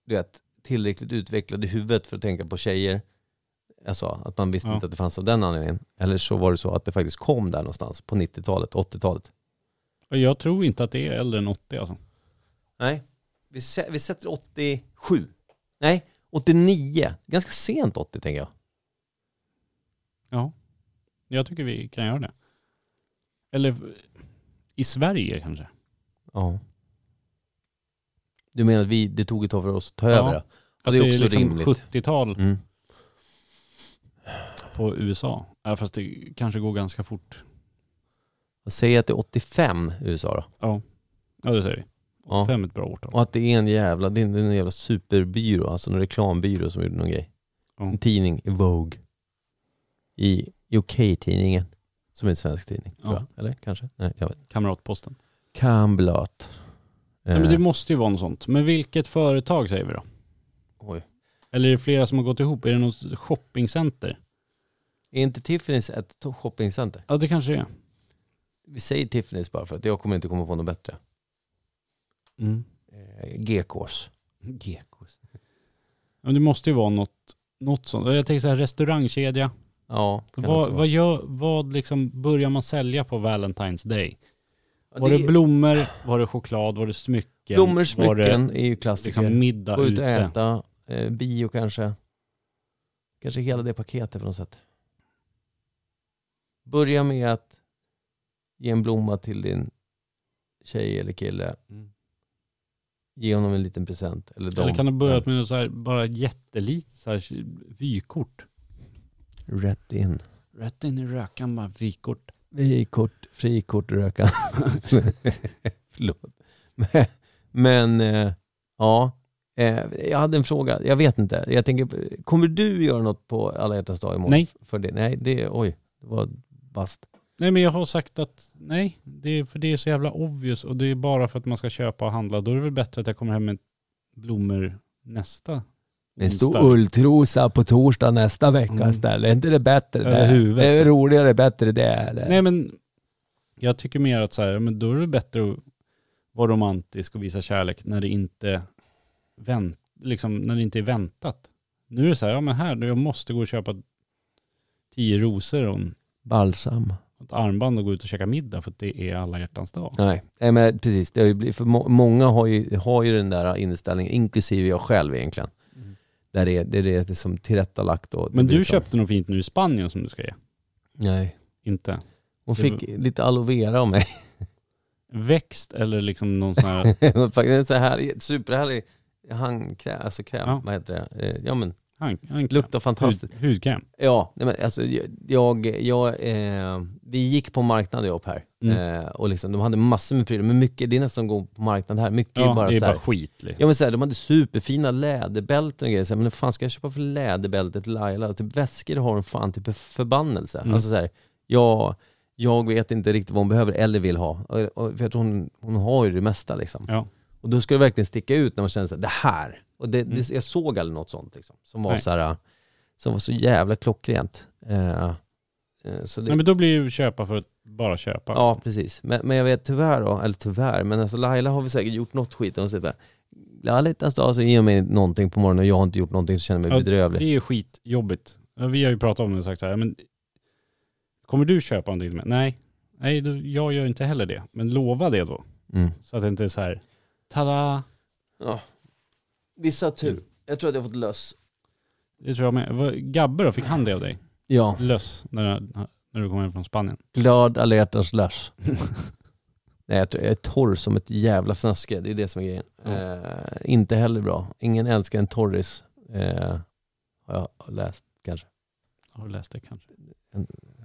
Speaker 1: du vet, tillräckligt utvecklad i huvudet för att tänka på tjejer. jag sa, att man visste
Speaker 2: Ja.
Speaker 1: inte att det fanns av den anledningen. Eller så var det så att det faktiskt kom där någonstans på 90-talet, 80-talet.
Speaker 2: Och Jag tror inte att det är äldre än 80 alltså.
Speaker 1: Nej, vi, sä- vi sätter 87. Nej, 89. Ganska sent 80 tänker jag.
Speaker 2: Ja. Jag tycker vi kan göra det. Eller i Sverige kanske.
Speaker 1: Ja. Du menar att vi, det tog ett tag för oss att ta
Speaker 2: Ja.
Speaker 1: över det? Ja, det är också
Speaker 2: liksom
Speaker 1: rimligt.
Speaker 2: 70-tal
Speaker 1: Mm.
Speaker 2: på USA. Ja, fast det kanske går ganska fort.
Speaker 1: Säg att det är 85 i USA då.
Speaker 2: Ja, ja det säger vi.
Speaker 1: Ja.
Speaker 2: 85 är ett bra årtal.
Speaker 1: Och att det är en jävla, det är en jävla superbyrå, alltså en reklambyrå som gjorde någon grej.
Speaker 2: Ja.
Speaker 1: En tidning, Vogue. I, i OK-tidningen. Som är en svensk tidning, tror
Speaker 2: Ja.
Speaker 1: jag. Eller kanske? Nej, jag vet inte.
Speaker 2: Kamratposten.
Speaker 1: Eh. Kamblöt.
Speaker 2: Ja, men
Speaker 1: Eh,
Speaker 2: det måste ju vara något sånt. Men vilket företag säger vi då?
Speaker 1: Oj.
Speaker 2: Eller är det flera som har gått ihop? Är det något shoppingcenter?
Speaker 1: Är inte Tiffany's ett to- shoppingcenter?
Speaker 2: Ja det kanske det är.
Speaker 1: Vi säger Tiffany's bara för att jag kommer inte komma på något bättre.
Speaker 2: Mm.
Speaker 1: Eh, GKs.
Speaker 2: Gekos. Ja, men det måste ju vara något, något sånt. Jag tänker så här restaurangkedja.
Speaker 1: Ja, kan det
Speaker 2: Vad,
Speaker 1: också vara.
Speaker 2: vad, gör, vad liksom börjar man sälja på Valentine's Day?
Speaker 1: Ja,
Speaker 2: Var
Speaker 1: det
Speaker 2: det,
Speaker 1: är-
Speaker 2: blommor, var det choklad, var det smycken?
Speaker 1: Blommor,
Speaker 2: Var det
Speaker 1: smycken är ju klassiker.
Speaker 2: liksom middag
Speaker 1: Gå ut
Speaker 2: ute?
Speaker 1: och äta, eh, bio kanske. Kanske hela det paketet på något sätt. Börja med att ge en blomma till din tjej eller kille.
Speaker 2: Mm.
Speaker 1: Ge honom en liten present. Eller, dem.
Speaker 2: Eller kan det börja med något så här, bara jättelitet så här, vykort?
Speaker 1: Rätt in.
Speaker 2: Rätt in i rökan bara, vykort.
Speaker 1: Frikort, frikort röka. Förlåt. Men, men eh, ja, eh, jag hade en fråga. Jag vet inte. Jag tänker, på- kommer du göra något på alla hjärtans dag imorgon?
Speaker 2: Nej.
Speaker 1: För det? Nej, det, oj, det var bast.
Speaker 2: Nej men jag har sagt att nej, det är, för det är så jävla obvious och det är bara för att man ska köpa och handla. Då är det väl bättre att jag kommer hem med blommor nästa onsdag.
Speaker 1: ulltrosa på torsdag nästa vecka
Speaker 2: Mm.
Speaker 1: istället. Är inte det bättre?
Speaker 2: Över det? huvudet. Är det
Speaker 1: roligare, bättre det eller?
Speaker 2: Nej men Eh, jag tycker mer att så här, men då är det bättre att vara romantisk och visa kärlek när det inte, vänt, liksom, när det inte är väntat. Nu är det så här, ja men här, jag måste gå och köpa tio rosor och en-
Speaker 1: Balsam.
Speaker 2: ett armband och gå ut och käka middag för att det är alla hjärtans dag.
Speaker 1: Nej, nej men precis. Det har ju blivit, för må, många har ju, har ju den där inställningen, inklusive jag själv egentligen. Där det, är- det, är- det är som tillrättalagt. Och det
Speaker 2: Men
Speaker 1: blir
Speaker 2: du
Speaker 1: så.
Speaker 2: köpte något fint nu i Spanien som du ska ge.
Speaker 1: Nej.
Speaker 2: Inte.
Speaker 1: Hon
Speaker 2: Det
Speaker 1: fick lite aloe vera av mig.
Speaker 2: Växt eller liksom någon sån här
Speaker 1: Faktiskt en så här superhärlig handkräm, alltså kräm,
Speaker 2: Ja.
Speaker 1: vad heter det? Eh, Ja men,
Speaker 2: hank, hank,
Speaker 1: luktar fantastiskt.
Speaker 2: Hud, hudkräm.
Speaker 1: Ja, nej men alltså jag, jag eh, vi gick på marknaden jag och Per.
Speaker 2: Mm.
Speaker 1: Eh, och liksom, de hade massor med prylar, men mycket, det är nästan att gå på marknad här. Mycket
Speaker 2: Ja,
Speaker 1: är bara
Speaker 2: det är
Speaker 1: så här,
Speaker 2: bara skit. Liksom.
Speaker 1: Ja men såhär, de hade superfina läderbälten och grejer, så här, men vad fan ska jag köpa för läderbälte till Laila? Typ väskor har hon fan till typ förbannelse.
Speaker 2: Mm.
Speaker 1: Alltså såhär, jag, jag vet inte riktigt vad hon behöver eller vill ha. Och, och, för att hon, hon har ju det mesta liksom.
Speaker 2: Ja.
Speaker 1: Och då ska det verkligen sticka ut när man känner såhär, det här. Och det, det, jag såg aldrig något sånt liksom, som var
Speaker 2: Mm. Nej.
Speaker 1: såhär, som var så jävla klockrent. Eh, eh, så det,
Speaker 2: Nej, men då blir det ju köpa för att bara köpa.
Speaker 1: Ja, precis. Men, men jag vet tyvärr då, eller tyvärr, men alltså Laila har väl säkert gjort något skit. Hon säger bara, alla hjärtans dag så ger hon mig någonting på morgonen och jag har inte gjort någonting så känner jag mig
Speaker 2: Ja,
Speaker 1: bedrövlig.
Speaker 2: Det är ju skitjobbigt. Ja, Vi har ju pratat om det och sagt så här, men kommer du köpa någonting till mig? Nej, nej då, jag gör inte heller det. Men lova det då.
Speaker 1: Mm.
Speaker 2: Så att det inte är så här, tada.
Speaker 1: Vissa har tur. Jag tror att jag har fått löss.
Speaker 2: Det tror jag med. Vad- Gabbe då, fick han det av dig?
Speaker 1: Ja.
Speaker 2: Löss, när, när du kom hem från Spanien.
Speaker 1: Glad alla hjärtans löss. Nej, jag, tror, jag är torr som ett jävla fnaske. Det är det som är grejen. Eh, inte heller bra. Ingen älskar en torris. Eh, har jag läst kanske
Speaker 2: Har du läst det kanske?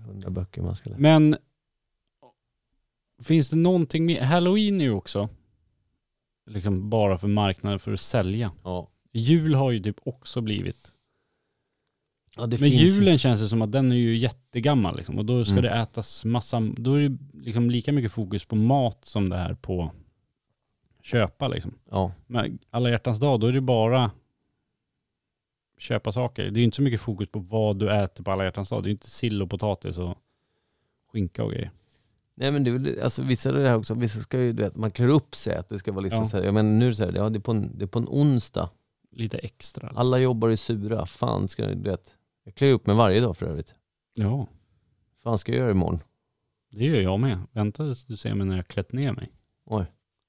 Speaker 1: hundra böcker man ska läsa.
Speaker 2: Men finns det någonting mer? Halloween är ju också liksom bara för marknaden för att sälja.
Speaker 1: Ja.
Speaker 2: Jul har ju typ också blivit
Speaker 1: Ja, det
Speaker 2: Men
Speaker 1: finns ju-
Speaker 2: julen känns det som att den är ju jättegammal liksom, och då ska
Speaker 1: Mm.
Speaker 2: det ätas massa, då är det liksom lika mycket fokus på mat som det är på köpa liksom.
Speaker 1: Ja.
Speaker 2: Men alla hjärtans dag, då är det bara köpa saker. Det är ju inte så mycket fokus på vad du äter på alla hjärtans dag. Det är ju inte sill och potatis och skinka och grejer.
Speaker 1: Nej men det är väl, alltså vissa är det här också, vissa ska ju, du vet, man klär upp sig att det ska vara liksom
Speaker 2: Ja.
Speaker 1: så här, ja men nu är det så här, ja det är på en, det är på en onsdag,
Speaker 2: Lite extra.
Speaker 1: alla jobbar är sura, fan ska du, du vet, Jag klär upp mig varje dag för övrigt.
Speaker 2: Ja,
Speaker 1: fan ska jag göra imorgon?
Speaker 2: det gör jag med. Vänta tills du ser mig när jag klätt ner mig.
Speaker 1: Oj.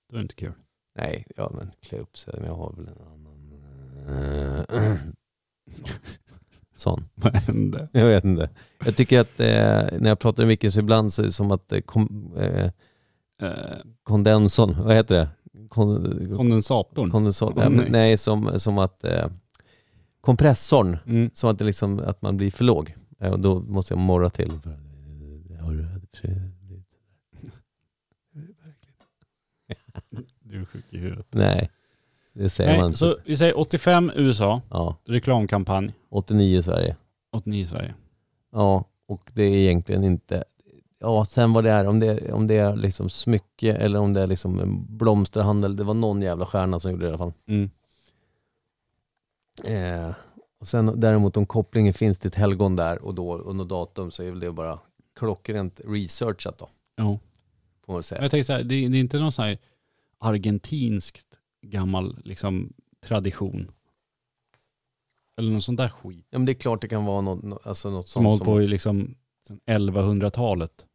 Speaker 2: Då är det inte kul.
Speaker 1: Nej, ja men klä upp sig. Men jag har väl en annan... eh, Sån.
Speaker 2: Vad hände?
Speaker 1: Jag vet inte. Jag tycker att eh, när jag pratar med Micke så ibland så är det som att eh, kom, eh,
Speaker 2: Eh,
Speaker 1: kondensorn, vad heter det? Kon,
Speaker 2: kondensatorn.
Speaker 1: kondensor, nej, men, nej som, som att eh, kompressorn,
Speaker 2: Mm.
Speaker 1: som att, det liksom, att man blir för låg. Eh, och då måste jag morra till. För, eh, har du-
Speaker 2: Du är sjuk i huvudet.
Speaker 1: Nej, det säger man
Speaker 2: Nej,
Speaker 1: inte.
Speaker 2: så vi säger 85 USA,
Speaker 1: Ja,
Speaker 2: reklamkampanj,
Speaker 1: 89 i Sverige.
Speaker 2: 89 Sverige.
Speaker 1: Ja, och det är egentligen inte... Ja, sen vad det är, om det är, om det är liksom smycke eller om det är liksom en blomsterhandel. Det var någon jävla stjärna som gjorde det i alla fall.
Speaker 2: Mm.
Speaker 1: Eh, och sen däremot om kopplingen finns till ett helgon där och då och något datum så är väl det bara klockrent researchat då.
Speaker 2: Jo.
Speaker 1: Får man
Speaker 2: Men
Speaker 1: säga.
Speaker 2: Jag tänker så här, det, det är inte någon sån här argentinskt gammal liksom, tradition. Eller någon sån där skit.
Speaker 1: Ja men det är klart det kan vara något, nå- alltså något
Speaker 2: Som
Speaker 1: sånt
Speaker 2: hållit
Speaker 1: som,
Speaker 2: på i liksom sen 1100-talet.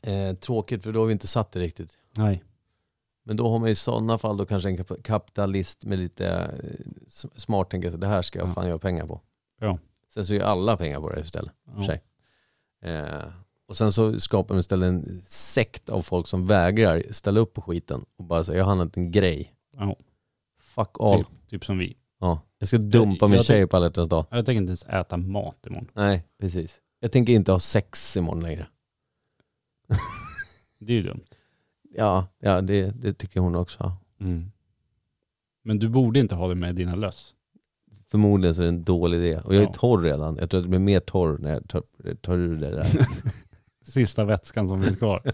Speaker 1: eh, tråkigt för då har vi inte satt det riktigt.
Speaker 2: Nej.
Speaker 1: Men då har man i sådana fall då kanske en kap- kapitalist med lite eh, s- smart tänker så det här ska jag
Speaker 2: Ja.
Speaker 1: fan göra pengar på.
Speaker 2: Ja.
Speaker 1: Sen så är ju alla pengar på det istället.
Speaker 2: Ja.
Speaker 1: sig. Eh, och sen så skapar man istället en sekt av folk som vägrar ställa upp på skiten och bara säger jag har handlat en grej.
Speaker 2: Ja.
Speaker 1: Fuck all.
Speaker 2: Typ, typ som vi.
Speaker 1: Ja. Jag ska dumpa min
Speaker 2: jag
Speaker 1: tjej på alla hjärtans dag.
Speaker 2: Jag tänker inte ens äta mat imorgon.
Speaker 1: Nej, precis. Jag tänker inte ha sex imorgon längre.
Speaker 2: Det är ju dumt.
Speaker 1: Ja, ja det, det tycker hon också.
Speaker 2: Men du borde inte ha det med dina löss.
Speaker 1: Förmodligen så är det en dålig idé. Och jag är
Speaker 2: Ja.
Speaker 1: torr redan. Jag tror att det blir mer torr när jag tar, tar ur det där.
Speaker 2: Sista vätskan som finns kvar.
Speaker 1: Fy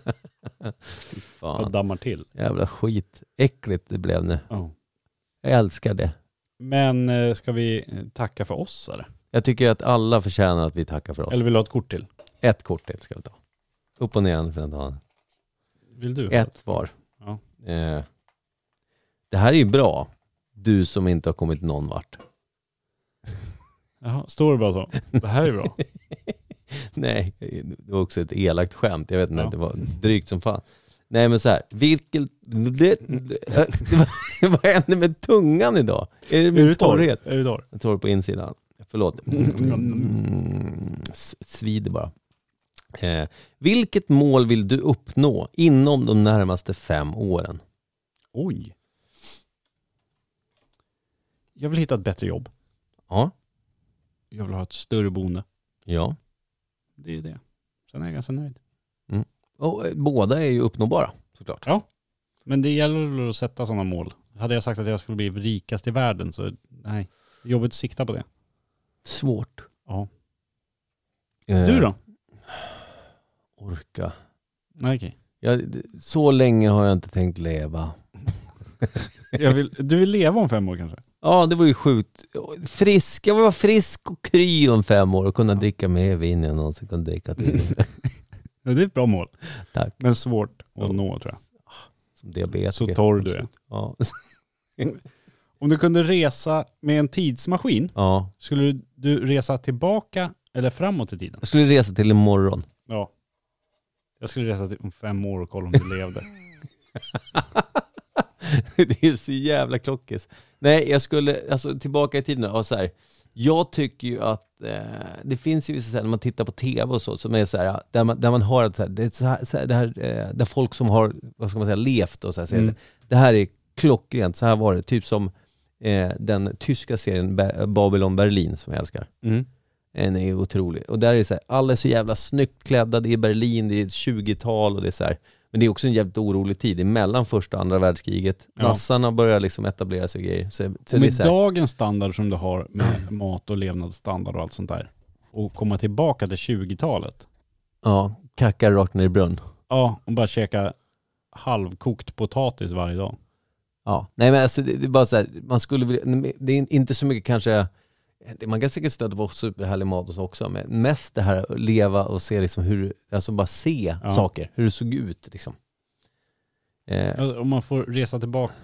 Speaker 2: Jag
Speaker 1: Fan.
Speaker 2: dammar till.
Speaker 1: Jävla skit. Äckligt det blev nu.
Speaker 2: Ja.
Speaker 1: Jag älskar det.
Speaker 2: Men eh, ska vi eh, tacka för oss eller?
Speaker 1: Jag tycker att alla förtjänar att vi tackar för oss.
Speaker 2: Eller vill du ha ett kort till?
Speaker 1: Ett kort till ska vi ta. Upp och ner för den dagen.
Speaker 2: Vill du?
Speaker 1: Ett var.
Speaker 2: Ja.
Speaker 1: Eh, det här är ju bra. Du som inte har kommit någon vart.
Speaker 2: Jaha, står det bara så? Det här är bra.
Speaker 1: Nej, det var också ett elakt skämt. Jag vet inte,
Speaker 2: Ja.
Speaker 1: det var drygt som fan. Nej men så här, vilket... Det, det, vad händer med tungan idag? Är det min torrhet?
Speaker 2: Är du torr? mm,
Speaker 1: Torr på insidan. Förlåt. Mm, s- svider bara. Eh, vilket mål vill du uppnå inom de närmaste fem åren?
Speaker 2: Oj. Jag vill hitta ett bättre jobb.
Speaker 1: Ja.
Speaker 2: Jag vill ha ett större boende.
Speaker 1: Ja.
Speaker 2: Det är det. Sen är jag ganska nöjd.
Speaker 1: Och, eh, båda är ju uppnåbara såklart.
Speaker 2: Ja. Men det gäller väl att sätta sådana mål. Hade jag sagt att jag skulle bli rikast i världen så nej. Jobbet siktar på det.
Speaker 1: Svårt.
Speaker 2: Ja.
Speaker 1: Eh,
Speaker 2: Du då?
Speaker 1: Orka.
Speaker 2: Nej okej.
Speaker 1: Jag, d- så länge har jag inte tänkt leva.
Speaker 2: Jag vill, du vill leva om fem år kanske?
Speaker 1: Ja, det var ju sjukt. Frisk, jag vill vara frisk och kry om fem år och kunna dricka mer vin än jag någonsin kunde dricka till.
Speaker 2: Ja, det är ett bra mål.
Speaker 1: Tack.
Speaker 2: Men svårt att
Speaker 1: Ja.
Speaker 2: nå tror jag.
Speaker 1: Som diabetiker.
Speaker 2: Så torr du är.
Speaker 1: Ja.
Speaker 2: Om du kunde resa med en tidsmaskin,
Speaker 1: ja.
Speaker 2: skulle du resa tillbaka eller framåt i tiden?
Speaker 1: Jag skulle resa till imorgon.
Speaker 2: Ja. Jag skulle resa till om fem år och kolla om du levde.
Speaker 1: det är så jävla klockis. Nej, jag skulle, alltså tillbaka i tiden och så här. Jag tycker ju att eh, det finns ju vissa ställen, när man tittar på tv och så, som är så här, där man, där man hör att så här, det är så här, så här, det här eh, där folk som har, vad ska man säga, levt och så här, säger
Speaker 2: Mm.
Speaker 1: det, det här är klockrent, så här var det. Typ som eh, den tyska serien Ba- Babylon Berlin som jag älskar. Den är ju otrolig. Och där är det så här, alla är så jävla snyggt klädda, det är Berlin, det är 20-tal och det är så här. Men det är också en jävligt orolig tid, det är mellan första och andra världskriget.
Speaker 2: Ja.
Speaker 1: Nassarna börjar liksom etablera sig och grejer. Så, så
Speaker 2: Och
Speaker 1: det är
Speaker 2: med
Speaker 1: så här,
Speaker 2: dagens standard som du har med mat och levnadsstandard och allt sånt där och komma tillbaka till 20-talet.
Speaker 1: ja, kackar rakt ner i brunn.
Speaker 2: Ja, och bara käka halvkokt potatis varje dag.
Speaker 1: Ja. Nej men alltså det, det är bara så här, man skulle vilja, det är inte så mycket kanske, det- man kan säkert stöta på superhärlig mat och så också, men mest det här att leva och se liksom hur, alltså bara se
Speaker 2: Ja.
Speaker 1: saker, hur det såg ut liksom. Eh,
Speaker 2: Ja, Om man får resa tillbaka,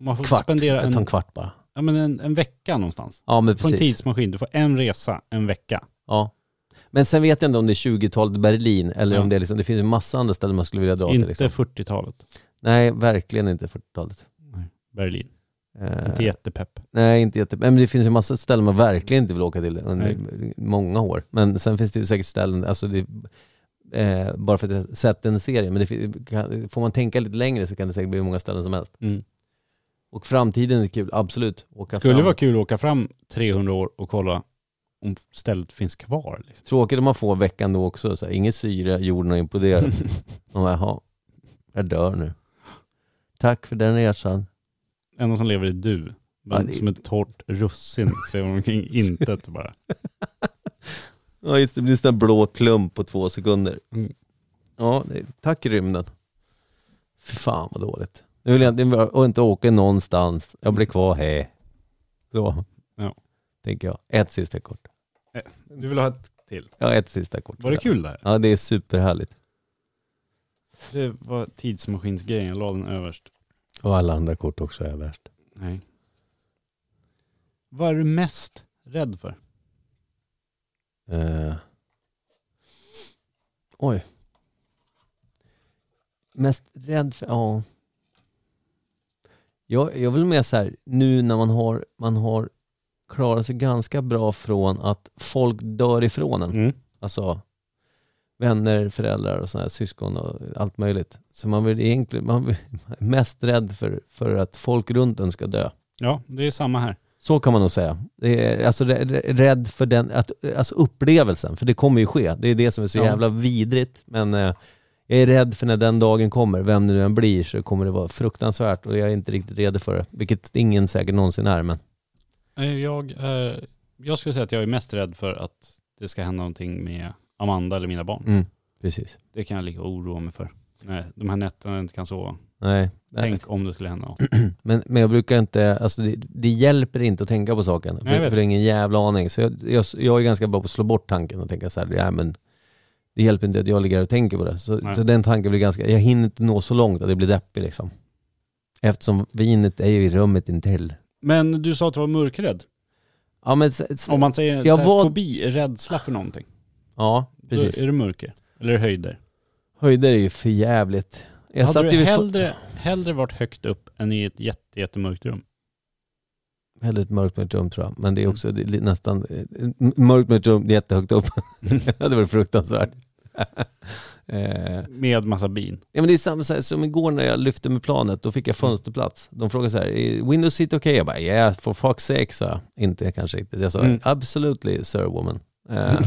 Speaker 2: om man får
Speaker 1: kvart,
Speaker 2: spendera
Speaker 1: jag tar en
Speaker 2: en,
Speaker 1: kvart bara.
Speaker 2: ja, men en, en vecka någonstans.
Speaker 1: Ja, men
Speaker 2: Du får en
Speaker 1: precis.
Speaker 2: tidsmaskin, du får en resa, en vecka.
Speaker 1: Ja. Men sen vet jag inte om det är 20-talet Berlin eller
Speaker 2: Ja.
Speaker 1: om det är liksom, det finns en massa andra ställen man skulle vilja dra till.
Speaker 2: inte
Speaker 1: Liksom.
Speaker 2: 40-talet
Speaker 1: Nej, verkligen inte 40-talet.
Speaker 2: Berlin.
Speaker 1: Eh,
Speaker 2: Inte jättepepp.
Speaker 1: nej, inte jätte... Men det finns ju massa ställen man verkligen inte vill åka till under många år. Men sen finns det ju säkert ställen, alltså det, eh, bara för att jag sett en serie, men det, fi- kan, får man tänka lite längre så kan det säkert bli många ställen som helst.
Speaker 2: Mm.
Speaker 1: Och framtiden är kul, absolut. Åka
Speaker 2: Skulle
Speaker 1: fram.
Speaker 2: vara kul att åka fram 300 år och kolla om stället finns kvar. Liksom.
Speaker 1: Tråkigt om man får veckan då också, så här, inget syre, jorden har imploderat. Man bara, jaha, jag dör nu. Tack för den resan.
Speaker 2: Enda som lever är du. Men
Speaker 1: Ja, det-
Speaker 2: Som ett torrt russin svävar omkring intet bara.
Speaker 1: Ja just det, det blir en sån där blå klump på två sekunder.
Speaker 2: Mm.
Speaker 1: Ja, det- tack rymden. Fy fan vad dåligt. Nu vill jag inte, och inte åka någonstans, jag blir kvar här. Så,
Speaker 2: Ja.
Speaker 1: tänker jag. Ett sista kort.
Speaker 2: Du vill ha ett till.
Speaker 1: Ja, ett sista kort.
Speaker 2: Var det kul där?
Speaker 1: Ja, det är superhärligt.
Speaker 2: Det var tidsmaskinsgrejen, jag la den överst.
Speaker 1: Och alla andra kort också är värst.
Speaker 2: Nej. Vad är du mest rädd för?
Speaker 1: Eh. Oj. Mest rädd för, ja. Jag, jag vill med så här, nu när man har, man har klarat sig ganska bra från att folk dör ifrån
Speaker 2: Mm.
Speaker 1: en. Alltså vänner, föräldrar och såna här, syskon och allt möjligt. Så man vill egentligen, man vill, man är mest rädd för, för att folk runt en ska dö.
Speaker 2: Ja, det är samma här.
Speaker 1: Så kan man nog säga. Det är, alltså rä- rä- rädd för den, att, alltså upplevelsen, för det kommer ju ske. Det är det som är så
Speaker 2: Ja.
Speaker 1: jävla vidrigt. Men eh, jag är rädd för när den dagen kommer, vem det nu än blir, så kommer det vara fruktansvärt och jag är inte riktigt redo för det. Vilket ingen säkert någonsin är, men
Speaker 2: Eh, Jag, eh, jag skulle säga att jag är mest rädd för att det ska hända någonting med Amanda eller mina barn.
Speaker 1: mm, precis.
Speaker 2: Det kan jag ligga och oroa mig för. Nej, de här nätterna jag inte kan sova.
Speaker 1: Nej. Nej.
Speaker 2: Tänk om det skulle hända något.
Speaker 1: Men, men jag brukar inte, alltså det, det hjälper inte att tänka på saken.
Speaker 2: Nej, jag
Speaker 1: för
Speaker 2: vet.
Speaker 1: för det är ingen jävla aning. Så jag, jag, jag är ganska bra på att slå bort tanken och tänka så här, ja, men det hjälper inte att jag ligger och tänker på det. Så,
Speaker 2: Nej.
Speaker 1: så den tanken blir ganska, jag hinner inte nå så långt att det blir deppig liksom. Eftersom vinet är ju i rummet intill.
Speaker 2: Men du sa att du var mörkrädd.
Speaker 1: Ja men, s- s-
Speaker 2: Om man säger
Speaker 1: Jag
Speaker 2: så här,
Speaker 1: var-
Speaker 2: fobi, är rädsla för någonting.
Speaker 1: ja precis.
Speaker 2: Då är det mörker. Eller höjder.
Speaker 1: Höjder är ju för jävligt. Jag
Speaker 2: Hade
Speaker 1: satt ju
Speaker 2: du
Speaker 1: vid fo-
Speaker 2: hellre, hellre varit högt upp än i ett jätte, jättemörkt rum?
Speaker 1: Hellre ett mörkt mörkt rum tror jag, men det är
Speaker 2: Mm.
Speaker 1: också det är li- nästan, eh, m- mörkt mörkt rum, det är jättehögt upp. det hade varit fruktansvärt. eh,
Speaker 2: Med massa bin.
Speaker 1: Ja men det är samma så här, som igår när jag lyfte med planet, då fick jag fönsterplats. De frågade så här, är Windows seat okej? Jag bara, yeah for fuck's sake sa jag. Inte kanske riktigt. Jag sa,
Speaker 2: Mm.
Speaker 1: absolutely sir woman. Eh,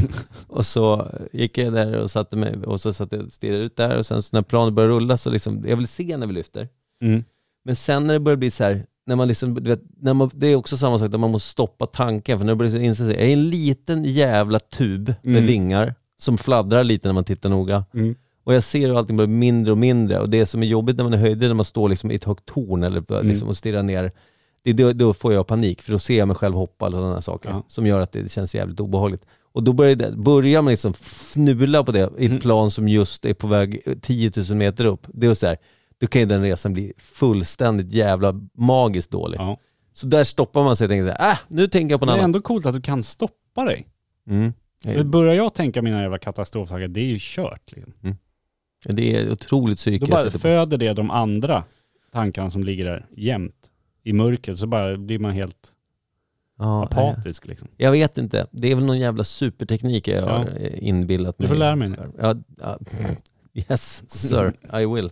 Speaker 1: och så gick jag där och satte mig och så satt jag och stirrade ut där och sen så när planet började rulla så liksom, jag vill se när vi lyfter.
Speaker 2: Mm.
Speaker 1: Men sen när det börjar bli så här, när man liksom, du vet, när man, det är också samma sak där man måste stoppa tanken för när det börjar så inse sig, jag är en liten jävla tub med
Speaker 2: Mm.
Speaker 1: vingar som fladdrar lite när man tittar noga.
Speaker 2: Mm.
Speaker 1: Och jag ser hur allting blir mindre och mindre och det som är jobbigt när man är höjder, när man står liksom i ett högt torn eller
Speaker 2: Mm.
Speaker 1: bara liksom och stirrar ner, det, då, då får jag panik för då ser jag mig själv hoppa eller sådana här saker
Speaker 2: Ja.
Speaker 1: som gör att det känns jävligt obehagligt. Och då börjar, det, börjar man liksom fnula på det i ett
Speaker 2: Mm.
Speaker 1: plan som just är på väg 10 000 meter upp. Det är så här, då kan ju den resan bli fullständigt jävla magiskt dålig.
Speaker 2: Ja.
Speaker 1: Så där stoppar man sig och tänker så här, ah, nu tänker jag på
Speaker 2: Det
Speaker 1: något
Speaker 2: är
Speaker 1: annat.
Speaker 2: ändå coolt att du kan stoppa dig.
Speaker 1: Mm.
Speaker 2: Men Börjar jag tänka mina jävla katastroftankar, det är ju kört. Liksom.
Speaker 1: Det är otroligt psyke
Speaker 2: Då
Speaker 1: jag
Speaker 2: bara
Speaker 1: sitter på.
Speaker 2: föder det de andra tankarna som ligger där jämt i mörkret. Så bara blir man helt
Speaker 1: Ja, nej.
Speaker 2: apatisk liksom.
Speaker 1: Jag vet inte. Det är väl någon jävla superteknik jag har eh, inbillat
Speaker 2: Du
Speaker 1: mig.
Speaker 2: får lära mig nu.
Speaker 1: Ja, ja. Yes, sir. I will.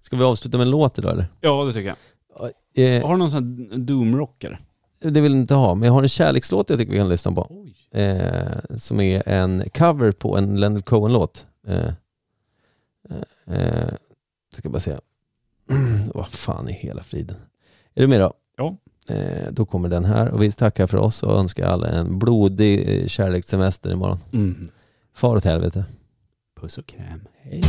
Speaker 1: Ska vi avsluta med en låt idag eller?
Speaker 2: Ja, det tycker jag.
Speaker 1: Eh,
Speaker 2: Har du någon sån här doomrocker?
Speaker 1: det vill du inte ha, men jag har en kärlekslåt jag tycker vi kan lyssna på.
Speaker 2: Oj.
Speaker 1: Eh, som är en cover på en Leonard Cohen-låt. Eh, eh, eh, ska jag bara säga. Vad fan i hela friden. Är du med då?
Speaker 2: Ja.
Speaker 1: Eh, då kommer den här och vi tackar för oss och önskar alla en blodig eh, kärlekssemester imorgon.
Speaker 2: Mm.
Speaker 1: Far åt helvete.
Speaker 2: Puss och kräm.
Speaker 1: Hej.